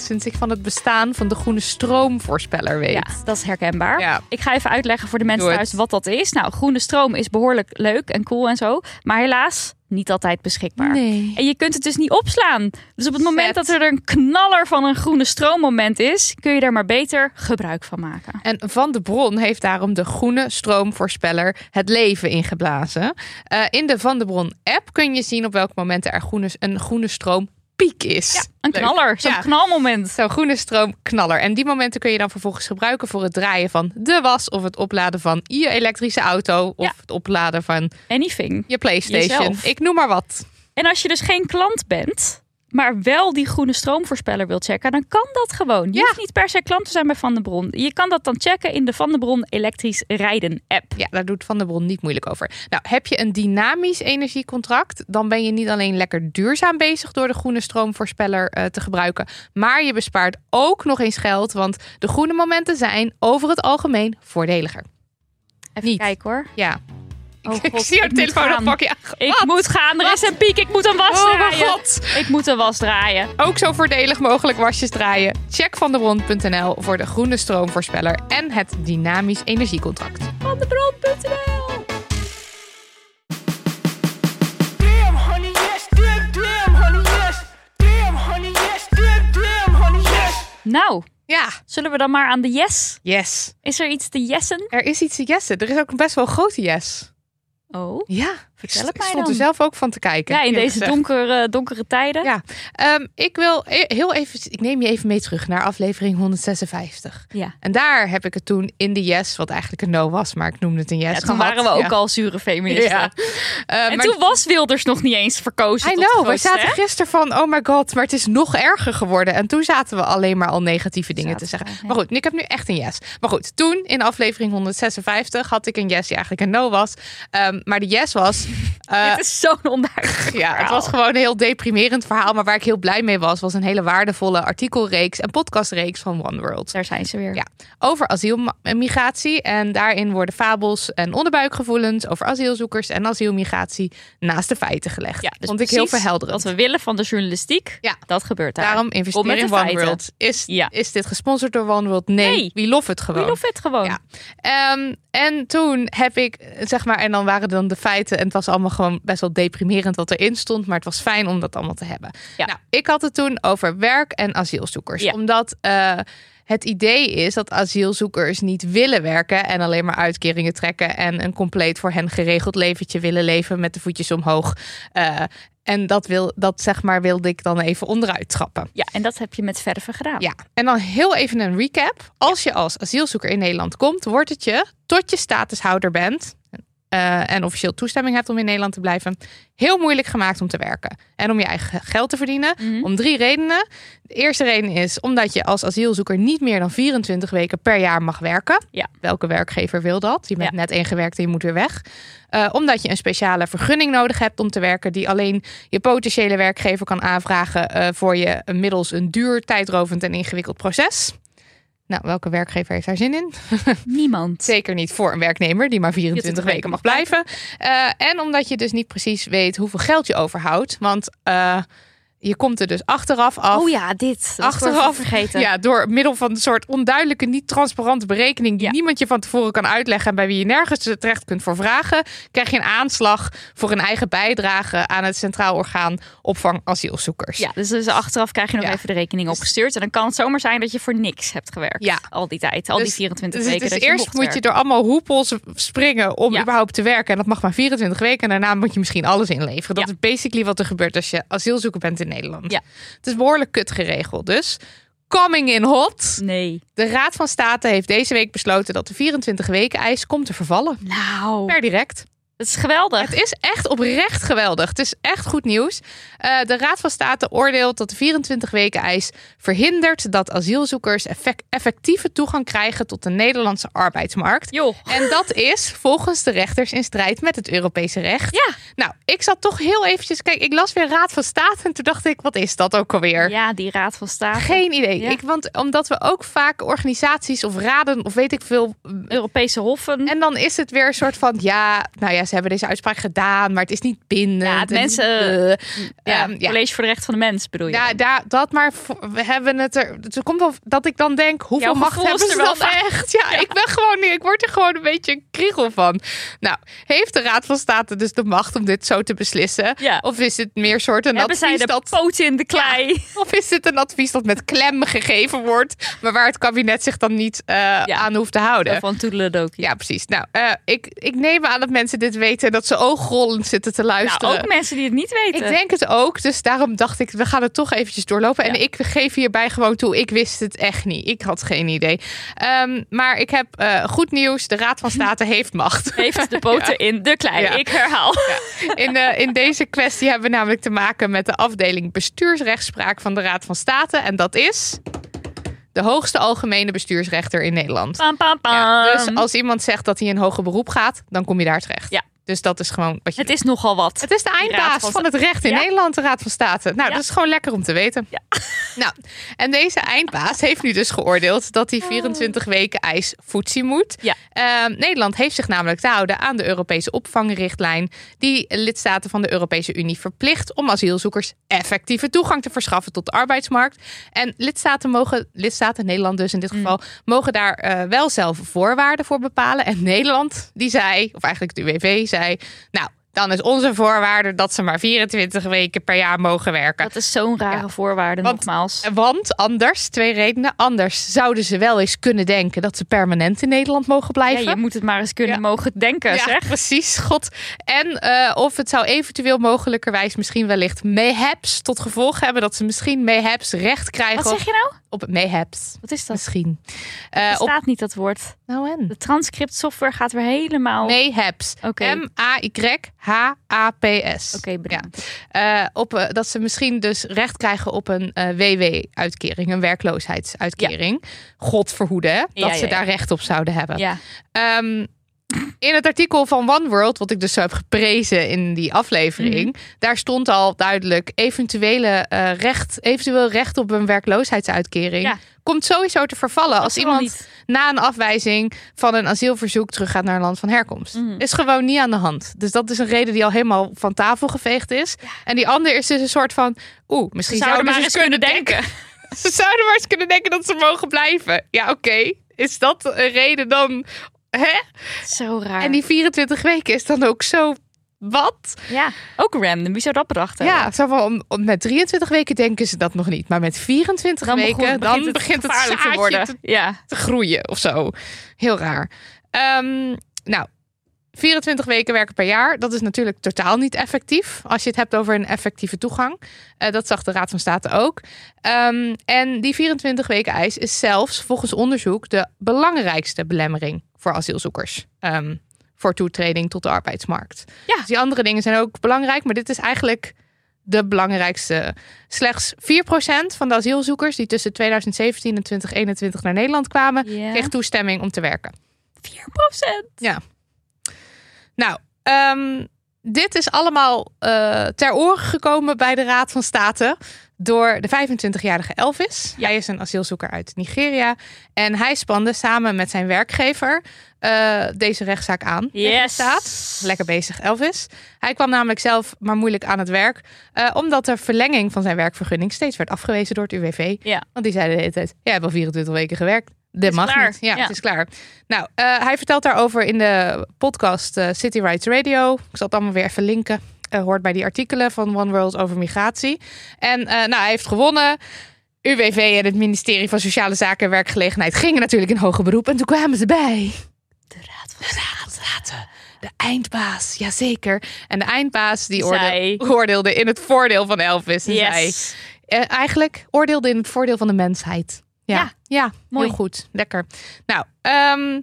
Speaker 4: Sinds ik van het bestaan van de groene stroomvoorspeller weet.
Speaker 5: Ja, dat is herkenbaar.
Speaker 4: Ja.
Speaker 5: Ik ga even uitleggen voor de mensen
Speaker 4: Doe het.
Speaker 5: thuis wat dat is. Nou, groene stroom is behoorlijk leuk en cool en zo. Maar helaas niet altijd beschikbaar.
Speaker 4: Nee.
Speaker 5: En je kunt het dus niet opslaan. Dus op het moment
Speaker 4: Vet.
Speaker 5: dat er een knaller van een groene stroommoment is, kun je daar maar beter gebruik van maken.
Speaker 4: En Van de Bron heeft daarom de groene stroomvoorspeller het leven ingeblazen. Eh, in de Van de Bron app kun je zien op welk moment er groene, een groene stroompiek is.
Speaker 5: Ja, een
Speaker 4: Leuk.
Speaker 5: knaller, zo'n
Speaker 4: Ja.
Speaker 5: knalmoment.
Speaker 4: Zo'n groene stroomknaller. En die momenten kun je dan vervolgens gebruiken voor het draaien van de was of het opladen van je elektrische auto of
Speaker 5: Ja.
Speaker 4: het opladen van
Speaker 5: Anything.
Speaker 4: je PlayStation.
Speaker 5: Jezelf.
Speaker 4: Ik noem maar wat.
Speaker 5: En als je dus geen klant bent, maar wel die groene stroomvoorspeller wilt checken, dan kan dat gewoon. Je
Speaker 4: Ja.
Speaker 5: hoeft niet per se klant te zijn bij Van de Bron. Je kan dat dan checken in de Van de Bron elektrisch rijden app.
Speaker 4: Ja, daar doet Van der Bron niet moeilijk over. Nou, heb je een dynamisch energiecontract, dan ben je niet alleen lekker duurzaam bezig door de groene stroomvoorspeller eh, te gebruiken, maar je bespaart ook nog eens geld, want de groene momenten zijn over het algemeen voordeliger.
Speaker 5: Even
Speaker 4: Niet.
Speaker 5: kijken hoor.
Speaker 4: Ja,
Speaker 5: Oh
Speaker 4: ik,
Speaker 5: god,
Speaker 4: zie
Speaker 5: [LAUGHS]
Speaker 4: jouw
Speaker 5: ik moet
Speaker 4: telefoon
Speaker 5: gaan.
Speaker 4: al pakken. Ja,
Speaker 5: Ik
Speaker 4: wat?
Speaker 5: moet gaan, er is een piek, ik moet een was
Speaker 4: Oh mijn
Speaker 5: draaien.
Speaker 4: god!
Speaker 5: Ik moet een was draaien.
Speaker 4: Ook zo voordelig mogelijk wasjes draaien. Check vandebron.nl voor de groene stroomvoorspeller en het dynamisch energiecontract.
Speaker 5: Van de bron.nl.
Speaker 6: Damn, honey, yes. Damn, damn, honey, yes. Damn, honey, yes. Damn, damn, honey, yes.
Speaker 5: Nou,
Speaker 4: Ja,
Speaker 5: zullen we dan maar aan de yes?
Speaker 4: yes.
Speaker 5: Is er iets te yessen?
Speaker 4: Er is iets te yessen. Er is ook een best wel grote yes.
Speaker 5: Oh.
Speaker 4: Ja,
Speaker 5: Vertel
Speaker 4: ik,
Speaker 5: het
Speaker 4: ik
Speaker 5: mij
Speaker 4: stond
Speaker 5: dan.
Speaker 4: er zelf ook van te kijken.
Speaker 5: Ja, in
Speaker 4: eerlijk
Speaker 5: deze
Speaker 4: gezegd.
Speaker 5: donkere, donkere tijden.
Speaker 4: Ja, Ehm, ik wil e- heel even. Ik neem je even mee terug naar aflevering 156.
Speaker 5: Ja.
Speaker 4: En daar heb ik het toen in de yes, wat eigenlijk een no was, maar ik noemde het een yes.
Speaker 5: Ja, toen waren we
Speaker 4: gehad.
Speaker 5: ook
Speaker 4: Ja.
Speaker 5: al zure feministen.
Speaker 4: Ja. Eh,
Speaker 5: En
Speaker 4: maar-
Speaker 5: toen was Wilders nog niet eens verkozen.
Speaker 4: I
Speaker 5: tot de
Speaker 4: know, we
Speaker 5: grootste,
Speaker 4: zaten
Speaker 5: hè?
Speaker 4: gisteren van, oh my god, maar het is nog erger geworden. En toen zaten we alleen maar al negatieve dingen
Speaker 5: Zaten
Speaker 4: te zeggen.
Speaker 5: we, ja.
Speaker 4: Maar goed, ik heb nu echt een yes. Maar goed, toen in aflevering 156 had ik een yes die eigenlijk een no was. Ehm, maar de
Speaker 5: [LAUGHS]
Speaker 4: yes was, eh,
Speaker 5: Dit is zo'n onduidelijk.
Speaker 4: [LAUGHS] ja, het
Speaker 5: verhaal.
Speaker 4: was gewoon een heel deprimerend verhaal. Maar waar ik heel blij mee was, was een hele waardevolle artikelreeks en podcastreeks van One World.
Speaker 5: Daar zijn ze weer.
Speaker 4: Ja, over asiel en migratie. En daarin worden fabels en onderbuikgevoelens over asielzoekers en asielmigratie naast de feiten gelegd.
Speaker 5: Ja, dus
Speaker 4: Vond ik heel
Speaker 5: precies
Speaker 4: verhelderend.
Speaker 5: Wat we willen van de journalistiek,
Speaker 4: Ja.
Speaker 5: dat gebeurt daar.
Speaker 4: Daarom
Speaker 5: Kom met
Speaker 4: investeren
Speaker 5: de
Speaker 4: in One
Speaker 5: feiten.
Speaker 4: World. Is,
Speaker 5: Ja.
Speaker 4: is dit gesponsord door One World? Nee,
Speaker 5: Nee.
Speaker 4: we love het
Speaker 5: We
Speaker 4: gewoon.
Speaker 5: love it gewoon.
Speaker 4: Ja. Ehm, en toen heb ik, eh, zeg maar, en dan waren dan de feiten. En het was allemaal gewoon best wel deprimerend wat erin stond. Maar het was fijn om dat allemaal te hebben.
Speaker 5: Ja.
Speaker 4: Nou, ik had het toen over werk en asielzoekers.
Speaker 5: Ja.
Speaker 4: Omdat eh, het idee is dat asielzoekers niet willen werken. En alleen maar uitkeringen trekken. En een compleet voor hen geregeld leventje willen leven met de voetjes omhoog. Eh, en dat, wil, dat zeg maar, wilde ik dan even onderuit trappen.
Speaker 5: Ja, en dat heb je met verven gedaan.
Speaker 4: Ja, en dan heel even een recap. Als je als asielzoeker in Nederland komt, wordt het je tot je statushouder bent eh, en officieel toestemming hebt om in Nederland te blijven, heel moeilijk gemaakt om te werken en om je eigen geld te verdienen.
Speaker 5: Mhm.
Speaker 4: Om drie redenen. De eerste reden is omdat je als asielzoeker niet meer dan 24 weken per jaar mag werken.
Speaker 5: Ja.
Speaker 4: Welke werkgever wil dat? Je bent
Speaker 5: Ja.
Speaker 4: net ingewerkt en je moet weer weg. Eh, omdat je een speciale vergunning nodig hebt om te werken, die alleen je potentiële werkgever kan aanvragen eh, voor je middels een duur, tijdrovend en ingewikkeld proces. Nou, welke werkgever heeft daar zin in?
Speaker 5: Niemand.
Speaker 4: Zeker niet voor een werknemer die maar 24
Speaker 5: weken
Speaker 4: weken mag blijven. Eh, en omdat je dus niet precies weet hoeveel geld je overhoudt. Want eh, je komt er dus achteraf af.
Speaker 5: Oh ja, dit. Dat
Speaker 4: Achteraf.
Speaker 5: Achteraf vergeten.
Speaker 4: Ja, door middel van een soort onduidelijke, niet transparante berekening die
Speaker 5: Ja.
Speaker 4: niemand je van tevoren kan uitleggen en bij wie je nergens terecht kunt voor vragen, krijg je een aanslag voor een eigen bijdrage aan het Centraal Orgaan Opvang Asielzoekers.
Speaker 5: Ja, dus, dus achteraf krijg je nog
Speaker 4: Ja. Dus-
Speaker 5: even de rekening opgestuurd. En dan kan het zomaar zijn dat je voor niks hebt gewerkt.
Speaker 4: Ja.
Speaker 5: Al die tijd, al die
Speaker 4: Dus-
Speaker 5: 24
Speaker 4: Dus het
Speaker 5: weken.
Speaker 4: is
Speaker 5: dat
Speaker 4: eerst
Speaker 5: mocht
Speaker 4: moet je
Speaker 5: werken.
Speaker 4: door allemaal hoepels springen om
Speaker 5: Ja.
Speaker 4: überhaupt te werken. En dat mag maar 24 weken. En daarna moet je misschien alles inleveren. Dat
Speaker 5: Ja.
Speaker 4: is basically wat er gebeurt als je asielzoeker bent in Nederland.
Speaker 5: Ja.
Speaker 4: Het is behoorlijk kut geregeld. Dus coming in hot.
Speaker 5: Nee.
Speaker 4: De Raad van State heeft deze week besloten dat de 24 weken eis komt te vervallen.
Speaker 5: Nou,
Speaker 4: Per direct.
Speaker 5: dat is geweldig.
Speaker 4: Het is echt oprecht geweldig. Het is echt goed nieuws. Eh, de Raad van State oordeelt dat de 24 weken eis verhindert dat asielzoekers effect- effectieve toegang krijgen tot de Nederlandse arbeidsmarkt.
Speaker 5: Joh.
Speaker 4: En dat is volgens de rechters in strijd met het Europese recht.
Speaker 5: Ja.
Speaker 4: Nou, ik zat toch heel eventjes... Kijk, ik las weer Raad van State en toen dacht ik, wat is dat ook alweer?
Speaker 5: Ja, die Raad van State.
Speaker 4: Geen idee.
Speaker 5: Ja.
Speaker 4: Ik, want omdat we ook vaak organisaties of raden of weet ik veel. eh,
Speaker 5: Europese hoffen.
Speaker 4: En dan is het weer een soort van ja, nou ja, ze hebben deze uitspraak gedaan, maar het is niet bindend.
Speaker 5: Ja, het
Speaker 4: en-
Speaker 5: mensen- ja,
Speaker 4: Ehm, ja.
Speaker 5: College voor de Recht van de Mens bedoel je.
Speaker 4: Ja, daar, dat maar voor- we hebben het er. Het komt wel dat ik dan denk, hoeveel
Speaker 5: Jouw
Speaker 4: macht
Speaker 5: gevoel
Speaker 4: hebben
Speaker 5: is
Speaker 4: ze
Speaker 5: er wel
Speaker 4: dan echt? Ja, ik ben gewoon, ik word er gewoon een beetje een kriegel van. Nou, heeft de Raad van State dus de macht om dit zo te beslissen?
Speaker 5: Ja.
Speaker 4: Of is het meer soort een
Speaker 5: Hebben zij
Speaker 4: advies
Speaker 5: de
Speaker 4: dat
Speaker 5: poot in de klei?
Speaker 4: [LAUGHS] Of is dit een advies dat met klem gegeven wordt, maar waar het kabinet zich dan niet eh, aan hoeft te houden?
Speaker 5: Zo Van Toedeledokie.
Speaker 4: Ja, precies. Nou, eh, ik, ik neem aan dat mensen dit weten en dat ze oogrollend zitten te luisteren.
Speaker 5: Nou, ook mensen die het niet weten.
Speaker 4: ik denk het ook, dus daarom dacht ik, we gaan het toch eventjes doorlopen. En
Speaker 5: Ja.
Speaker 4: ik geef hierbij gewoon toe, ik wist het echt niet. Ik had geen idee. Ehm, maar ik heb eh, goed nieuws, de Raad van
Speaker 5: [LAUGHS]
Speaker 4: State heeft macht. [LAUGHS]
Speaker 5: Heeft de poten in de klei.
Speaker 4: Ja.
Speaker 5: Ik herhaal.
Speaker 4: In, eh, in deze kwestie hebben we namelijk te maken met de afdeling bestuursrechtspraak van de Raad van State. En dat is de hoogste algemene bestuursrechter in Nederland.
Speaker 5: Pam, pam, pam.
Speaker 4: Ja, dus als iemand zegt dat hij in hoger beroep gaat, dan kom je daar terecht.
Speaker 5: Ehm. Ja.
Speaker 4: Dus dat is gewoon wat je.
Speaker 5: Het is nogal wat.
Speaker 4: Het is de eindbaas
Speaker 5: Raad
Speaker 4: van,
Speaker 5: van
Speaker 4: het recht in
Speaker 5: Ja.
Speaker 4: Nederland, de Raad van State. Nou,
Speaker 5: Ja.
Speaker 4: dat is gewoon lekker om te weten.
Speaker 5: Ja.
Speaker 4: [LAUGHS] Nou, en deze eindbaas heeft nu dus geoordeeld dat
Speaker 5: Ah.
Speaker 4: die 24 weken ijs voetsie moet.
Speaker 5: Ja.
Speaker 4: Ehm, Nederland heeft zich namelijk te houden aan de Europese opvangrichtlijn, die lidstaten van de Europese Unie verplicht om asielzoekers effectieve toegang te verschaffen tot de arbeidsmarkt. En lidstaten mogen, lidstaten, Nederland dus in dit geval,
Speaker 5: Mm.
Speaker 4: mogen daar eh, wel zelf voorwaarden voor bepalen. En Nederland, die zei, of eigenlijk de UWV zei, nou, dan is onze voorwaarde dat ze maar 24 weken per jaar mogen werken.
Speaker 5: Dat is zo'n rare
Speaker 4: Ja.
Speaker 5: voorwaarde,
Speaker 4: Want-
Speaker 5: nogmaals.
Speaker 4: Want anders, twee redenen. Anders zouden ze wel eens kunnen denken dat ze permanent in Nederland mogen
Speaker 5: Ja,
Speaker 4: blijven.
Speaker 5: je moet het maar eens kunnen
Speaker 4: Ja.
Speaker 5: mogen denken,
Speaker 4: Ja,
Speaker 5: zeg.
Speaker 4: precies. God. En eh, of het zou eventueel mogelijkerwijs misschien wellicht mayhaps tot gevolg hebben dat ze misschien mayhaps recht krijgen
Speaker 5: Wat zeg je nou?
Speaker 4: op het mayhaps.
Speaker 5: Wat is dat?
Speaker 4: Misschien. Eh,
Speaker 5: Er
Speaker 4: op,
Speaker 5: staat niet dat woord.
Speaker 4: nou en?
Speaker 5: De transcript software gaat weer helemaal...
Speaker 4: Mayhaps.
Speaker 5: Oké.
Speaker 4: M-A-Y-H-A-P-S.
Speaker 5: Oké, bedankt.
Speaker 4: Eh, op, eh, dat ze misschien dus recht krijgen op een eh, WW-uitkering, een werkloosheidsuitkering. God verhoede, hè, dat
Speaker 5: Ja, ja,
Speaker 4: ze daar
Speaker 5: ja.
Speaker 4: recht op zouden hebben.
Speaker 5: Ja.
Speaker 4: Ehm, in het artikel van One World, wat ik dus zo heb geprezen in die aflevering,
Speaker 5: Mhm.
Speaker 4: daar stond al duidelijk eventuele eh, recht, eventueel recht op een werkloosheidsuitkering.
Speaker 5: Ja.
Speaker 4: Komt sowieso te vervallen als
Speaker 5: is gewoon
Speaker 4: iemand
Speaker 5: niet.
Speaker 4: na een afwijzing van een asielverzoek teruggaat naar een land van herkomst.
Speaker 5: Mhm.
Speaker 4: Is gewoon niet aan de hand. Dus dat is een reden die al helemaal van tafel geveegd is. En die andere is dus een soort van, oeh, misschien
Speaker 5: Ze zouden
Speaker 4: zouden,
Speaker 5: maar
Speaker 4: ze
Speaker 5: eens kunnen denken.
Speaker 4: [LAUGHS] ze zouden maar eens kunnen denken dat ze mogen blijven. Ja, oké. Is dat een reden dan? Hè?
Speaker 5: [LAUGHS] Zo raar.
Speaker 4: En die 24 weken is dan ook zo. Wat?
Speaker 5: Ja, ook random. Wie zou dat bedacht hebben?
Speaker 4: Ja, zo van, om, om- met 23 weken denken ze dat nog niet. Maar met 24
Speaker 5: Dan
Speaker 4: weken
Speaker 5: begint-
Speaker 4: dan
Speaker 5: begint het
Speaker 4: begint het
Speaker 5: gevaarlijk te
Speaker 4: zaadje
Speaker 5: worden.
Speaker 4: te,
Speaker 5: Ja,
Speaker 4: te groeien of zo. Heel raar. Ehm, nou, 24 weken werken per jaar. Dat is natuurlijk totaal niet effectief. Als je het hebt over een effectieve toegang. Eh, dat zag de Raad van State ook. Ehm, en die 24 weken eis is zelfs volgens onderzoek de belangrijkste belemmering voor asielzoekers. Ehm, voor toetreding tot de arbeidsmarkt.
Speaker 5: Ja.
Speaker 4: Dus die andere dingen zijn ook belangrijk, maar dit is eigenlijk de belangrijkste. Slechts 4% van de asielzoekers die tussen 2017 en 2021 naar Nederland kwamen,
Speaker 5: Ja.
Speaker 4: kreeg toestemming om te werken.
Speaker 5: 4%.
Speaker 4: Nou, ehm, dit is allemaal eh, ter oren gekomen bij de Raad van State door de 25-jarige Elvis. Hij is een asielzoeker uit Nigeria en hij spande samen met zijn werkgever eh, deze rechtszaak aan. tegen de
Speaker 5: Yes.
Speaker 4: staat. Lekker bezig, Elvis. Hij kwam namelijk zelf maar moeilijk aan het werk. eh, omdat de verlenging van zijn werkvergunning steeds werd afgewezen door het UWV.
Speaker 5: Ja.
Speaker 4: Want die zeiden de hele tijd, jij hebt al 24 weken gewerkt. Dit
Speaker 5: is
Speaker 4: mag
Speaker 5: klaar.
Speaker 4: niet. Ja,
Speaker 5: Ja.
Speaker 4: het is klaar. Nou, eh, hij vertelt daarover in de podcast eh, City Rights Radio. Ik zal het allemaal weer even linken. Eh, hoort bij die artikelen van One World over migratie. En eh, nou, hij heeft gewonnen. UWV en het ministerie van Sociale Zaken en Werkgelegenheid gingen natuurlijk in hoger beroep. En toen kwamen ze bij.
Speaker 5: De raad van
Speaker 4: De eindbaas, jazeker. En de eindbaas die
Speaker 5: Zij.
Speaker 4: oordeel- oordeelde in het voordeel van Elvis. En zij
Speaker 5: Yes.
Speaker 4: eh, eigenlijk oordeelde in het voordeel van de mensheid. Ja,
Speaker 5: Ja,
Speaker 4: ja,
Speaker 5: mooi.
Speaker 4: heel goed. Lekker. Nou, ehm,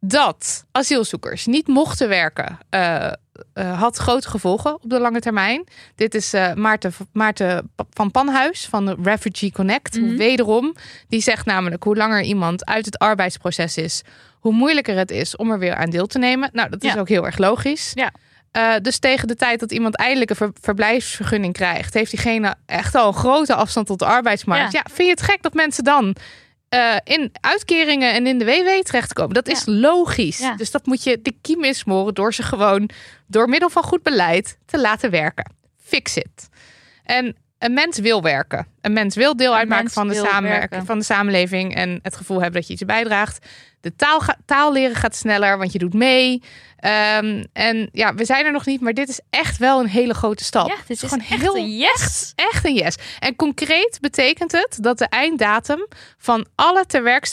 Speaker 4: dat asielzoekers niet mochten werken eh, eh, had grote gevolgen op de lange termijn. Dit is eh, Maarten, Maarten Pa- van Panhuis van de Refugee Connect.
Speaker 5: Mhm.
Speaker 4: Wederom, die zegt namelijk hoe langer iemand uit het arbeidsproces is, hoe moeilijker het is om er weer aan deel te nemen. Nou, dat is
Speaker 5: Ja.
Speaker 4: ook heel erg logisch.
Speaker 5: Ja.
Speaker 4: Eh, dus tegen de tijd dat iemand eindelijk een ver- verblijfsvergunning krijgt, heeft diegene echt al een grote afstand tot de arbeidsmarkt. Ja, vind je het gek dat mensen dan eh, in uitkeringen en in de WW terechtkomen? Dat is logisch.
Speaker 5: Ja.
Speaker 4: Dus dat moet je de kiem insmoren door ze gewoon door middel van goed beleid te laten werken. Fix it. En een mens wil werken. Een mens wil deel
Speaker 5: Een
Speaker 4: uitmaken
Speaker 5: mens
Speaker 4: van de,
Speaker 5: wil
Speaker 4: samenwerking,
Speaker 5: werken.
Speaker 4: van de samenleving en het gevoel hebben dat je iets bijdraagt. De taal, ga- taal leren gaat sneller, want je doet mee. Ehm, en ja, we zijn er nog niet, maar dit is echt wel een hele grote stap.
Speaker 5: Ja, dit is
Speaker 4: Oh, gewoon
Speaker 5: echt
Speaker 4: heel-
Speaker 5: een yes.
Speaker 4: Echt een yes. En concreet betekent het dat de einddatum van alle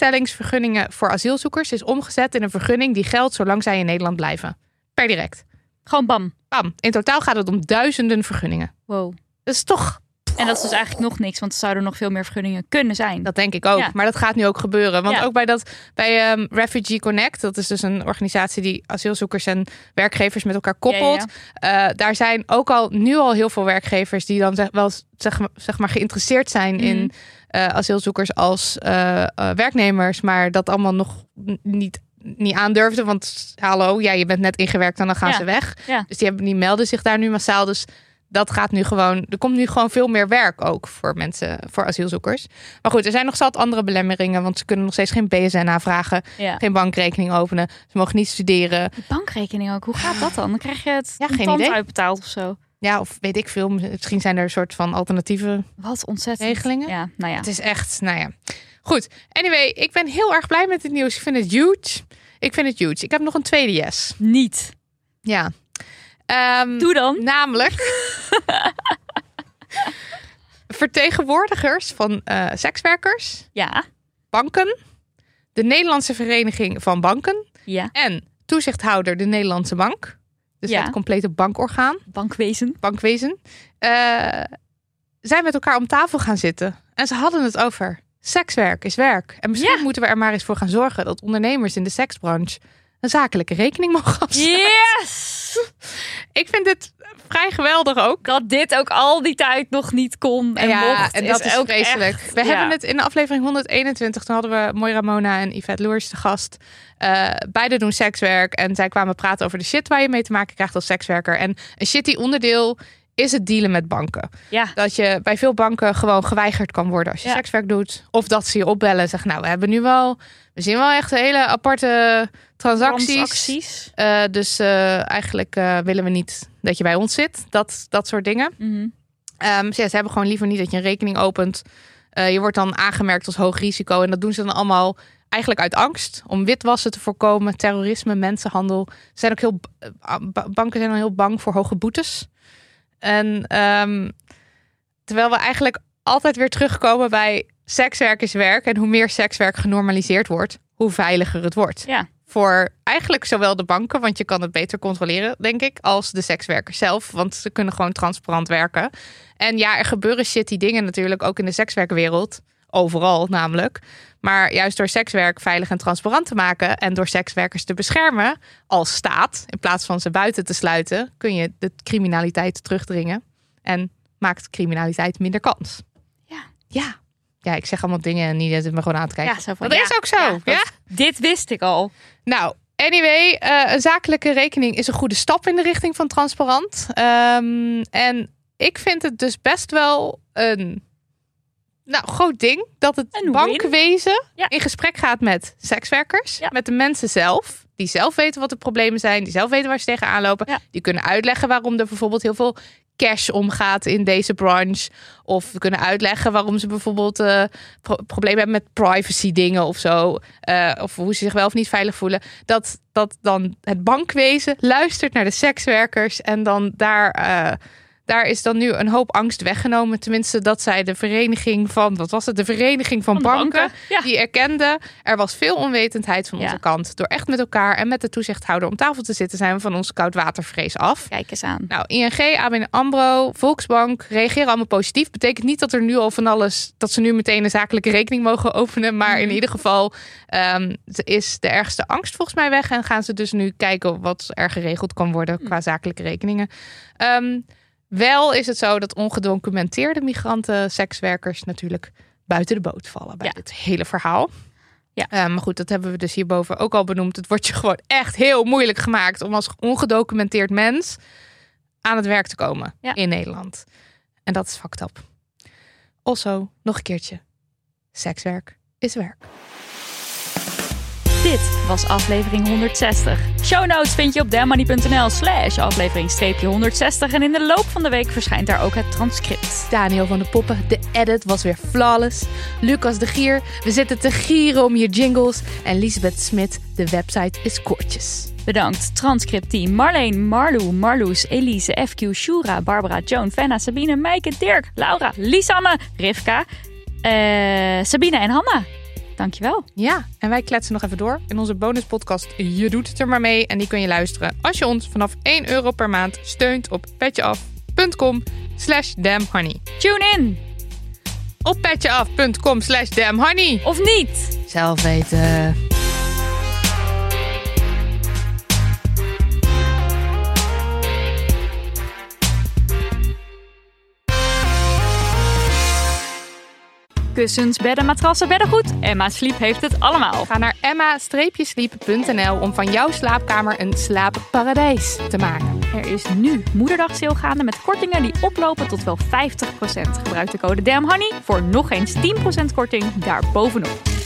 Speaker 4: tewerkstellingsvergunningen voor asielzoekers is omgezet in een vergunning die geldt zolang zij in Nederland blijven. Per direct.
Speaker 5: Gewoon bam.
Speaker 4: Bam. In totaal gaat het om duizenden vergunningen.
Speaker 5: Wow.
Speaker 4: Dat is toch,
Speaker 5: En dat is dus eigenlijk nog niks, want er zouden nog veel meer vergunningen kunnen zijn.
Speaker 4: dat denk ik ook.
Speaker 5: Ja.
Speaker 4: Maar dat gaat nu ook gebeuren. Want
Speaker 5: Ja.
Speaker 4: ook bij, dat, bij ehm, Refugee Connect, dat is dus een organisatie die asielzoekers en werkgevers met elkaar koppelt.
Speaker 5: Ja, ja, ja.
Speaker 4: Eh, daar zijn ook al nu al heel veel werkgevers die dan zeg, wel zeg, maar- zeg maar geïnteresseerd zijn
Speaker 5: Mhm.
Speaker 4: in eh, asielzoekers als eh, eh, werknemers, maar dat allemaal nog n- niet, niet aandurfden. Want hallo, ja, je bent net ingewerkt en dan gaan
Speaker 5: Ja,
Speaker 4: ze weg.
Speaker 5: ja.
Speaker 4: Dus die, hebben, die melden zich daar nu massaal. Dus dat gaat nu gewoon. Er komt nu gewoon veel meer werk ook voor mensen, voor asielzoekers. Maar goed, er zijn nog zat andere belemmeringen, want ze kunnen nog steeds geen BSN aanvragen,
Speaker 5: Ja.
Speaker 4: geen bankrekening openen, ze mogen niet studeren.
Speaker 5: Die bankrekening ook, hoe gaat dat dan? Dan krijg je het
Speaker 4: Ja, geen
Speaker 5: contant
Speaker 4: idee.
Speaker 5: uitbetaald of zo.
Speaker 4: Ja, of weet ik veel. Misschien zijn er een soort van alternatieve.
Speaker 5: Wat ontzettend.
Speaker 4: Regelingen?
Speaker 5: Ja, nou ja.
Speaker 4: Het is echt, nou ja. Goed. Anyway, ik ben heel erg blij met dit nieuws. Ik vind het huge. Ik vind het huge. Ik heb nog een tweede yes.
Speaker 5: Niet.
Speaker 4: Ja. Ehm,
Speaker 5: Doe dan.
Speaker 4: namelijk. [LAUGHS] vertegenwoordigers van eh, sekswerkers,
Speaker 5: Ja.
Speaker 4: banken, de Nederlandse Vereniging van Banken
Speaker 5: Ja.
Speaker 4: en toezichthouder de Nederlandse Bank. Dus
Speaker 5: Ja.
Speaker 4: het complete bankorgaan.
Speaker 5: Bankwezen.
Speaker 4: bankwezen, eh, zijn met elkaar om tafel gaan zitten. En ze hadden het over sekswerk is werk. En misschien
Speaker 5: Ja.
Speaker 4: moeten we er maar eens voor gaan zorgen dat ondernemers in de seksbranche een zakelijke rekening mogen afsluiten.
Speaker 5: Yes!
Speaker 4: Ik vind dit vrij geweldig ook.
Speaker 5: [LAUGHS] Dat dit ook al die tijd nog niet kon en mocht.
Speaker 4: en dat is,
Speaker 5: ook
Speaker 4: vreselijk.
Speaker 5: echt-
Speaker 4: we
Speaker 5: ja.
Speaker 4: hebben het in de aflevering 121, toen hadden we Moira Mona en Yvette Loers te gast. Eh beide doen sekswerk en zij kwamen praten over de shit waar je mee te maken krijgt als sekswerker. En een shitty onderdeel is het dealen met banken.
Speaker 5: Ja.
Speaker 4: dat je bij veel banken gewoon geweigerd kan worden als je
Speaker 5: Ja.
Speaker 4: sekswerk doet. Of dat ze je opbellen en zeggen, nou, we hebben nu wel... We zien wel echt hele aparte transacties.
Speaker 5: Transacties.
Speaker 4: Eh, dus eh, eigenlijk eh, willen we niet dat je bij ons zit. Dat, dat soort dingen.
Speaker 5: Mhm.
Speaker 4: Ehm, dus ja, ze hebben gewoon liever niet dat je een rekening opent. Eh, je wordt dan aangemerkt als hoog risico. En dat doen ze dan allemaal eigenlijk uit angst. Om witwassen te voorkomen, terrorisme, mensenhandel. Ze zijn ook heel, b- eh, ba- banken zijn dan heel bang voor hoge boetes. En ehm, terwijl we eigenlijk altijd weer terugkomen bij sekswerk is werk. En hoe meer sekswerk genormaliseerd wordt, hoe veiliger het wordt.
Speaker 5: Ja.
Speaker 4: Voor eigenlijk zowel de banken, want je kan het beter controleren, denk ik, als de sekswerkers zelf. Want ze kunnen gewoon transparant werken. En ja, er gebeuren shitty dingen natuurlijk, ook in de sekswerkwereld. Overal namelijk. Maar juist door sekswerk veilig en transparant te maken en door sekswerkers te beschermen als staat, in plaats van ze buiten te sluiten, kun je de criminaliteit terugdringen en maakt criminaliteit minder kans.
Speaker 5: Ja.
Speaker 4: Ja. Ja, ik zeg allemaal dingen en niet dat het me gewoon aan te kijken.
Speaker 5: Ja, zo van,
Speaker 4: dat
Speaker 5: ja,
Speaker 4: is ook zo.
Speaker 5: ja, dat-
Speaker 4: ja?
Speaker 5: Dit wist ik al.
Speaker 4: Nou, anyway, eh, een zakelijke rekening is een goede stap in de richting van transparant. Ehm, en ik vind het dus best wel een nou, groot ding dat het
Speaker 5: Een win.
Speaker 4: bankwezen
Speaker 5: Ja.
Speaker 4: in gesprek gaat met sekswerkers,
Speaker 5: Ja.
Speaker 4: met de mensen zelf die zelf weten wat de problemen zijn, die zelf weten waar ze tegenaan lopen.
Speaker 5: Ja.
Speaker 4: Die kunnen uitleggen waarom er bijvoorbeeld heel veel cash omgaat in deze branche. Of we kunnen uitleggen waarom ze bijvoorbeeld eh, pro- problemen hebben met privacy dingen of zo. Eh, of hoe ze zich wel of niet veilig voelen. Dat, dat dan het bankwezen luistert naar de sekswerkers en dan daar... eh, daar is dan nu een hoop angst weggenomen. Tenminste, dat zij de vereniging van, wat was het? De vereniging van,
Speaker 5: Van de
Speaker 4: banken,
Speaker 5: Ja.
Speaker 4: die erkende. Er was veel onwetendheid van
Speaker 5: Ja.
Speaker 4: onze kant. Door echt met elkaar en met de toezichthouder om tafel te zitten, zijn we van onze koudwatervrees af.
Speaker 5: Kijk eens aan.
Speaker 4: Nou, ING, ABN AMRO, Volksbank reageren allemaal positief. Betekent niet dat er nu al van alles, dat ze nu meteen een zakelijke rekening mogen openen.
Speaker 5: Mhm.
Speaker 4: Maar in ieder geval ehm, is de ergste angst volgens mij weg. En gaan ze dus nu kijken wat er geregeld kan
Speaker 5: Mhm.
Speaker 4: worden qua zakelijke rekeningen. Ehm, wel is het zo dat ongedocumenteerde migranten, sekswerkers natuurlijk buiten de boot vallen bij
Speaker 5: Ja.
Speaker 4: dit hele verhaal.
Speaker 5: Ja.
Speaker 4: Eh, maar goed, dat hebben we dus hierboven ook al benoemd. Het wordt je gewoon echt heel moeilijk gemaakt om als ongedocumenteerd mens aan het werk te komen
Speaker 5: Ja.
Speaker 4: in Nederland. En dat is fucked up. Also, nog een keertje. Sekswerk is werk.
Speaker 5: Dit was aflevering 160. Show notes vind je op demoney.nl slash aflevering 160. En in de loop van de week verschijnt daar ook het transcript.
Speaker 4: Daniel van de Poppen, de edit was weer flawless. Lucas de Gier, we zitten te gieren om je jingles. En Lisbeth Smit, de website is kortjes.
Speaker 5: Bedankt transcriptteam Marleen, Marlou, Marloes, Elise, FQ, Shura, Barbara, Joan, Fenna, Sabine, Meike, Dirk, Laura, Lisanne, Rivka, eh, Sabine en Hanna. Dankjewel.
Speaker 4: Ja, en wij kletsen nog even door in onze bonuspodcast Je Doet Het Er Maar Mee. En die kun je luisteren als je ons vanaf 1 euro per maand steunt op petjeaf.com slash damnhoney.
Speaker 5: Tune in,
Speaker 4: Op petjeaf.com slash damnhoney.
Speaker 5: of niet?
Speaker 4: Zelf weten.
Speaker 5: Kussens, bedden, matrassen, beddengoed. Emma Sleep heeft het allemaal.
Speaker 4: Ga naar emma-sleep.nl om van jouw slaapkamer een slaapparadijs te maken.
Speaker 5: Er is nu Moederdag sale gaande met kortingen die oplopen tot wel 50%. Gebruik de code DAMHONEY voor nog eens 10% korting daarbovenop.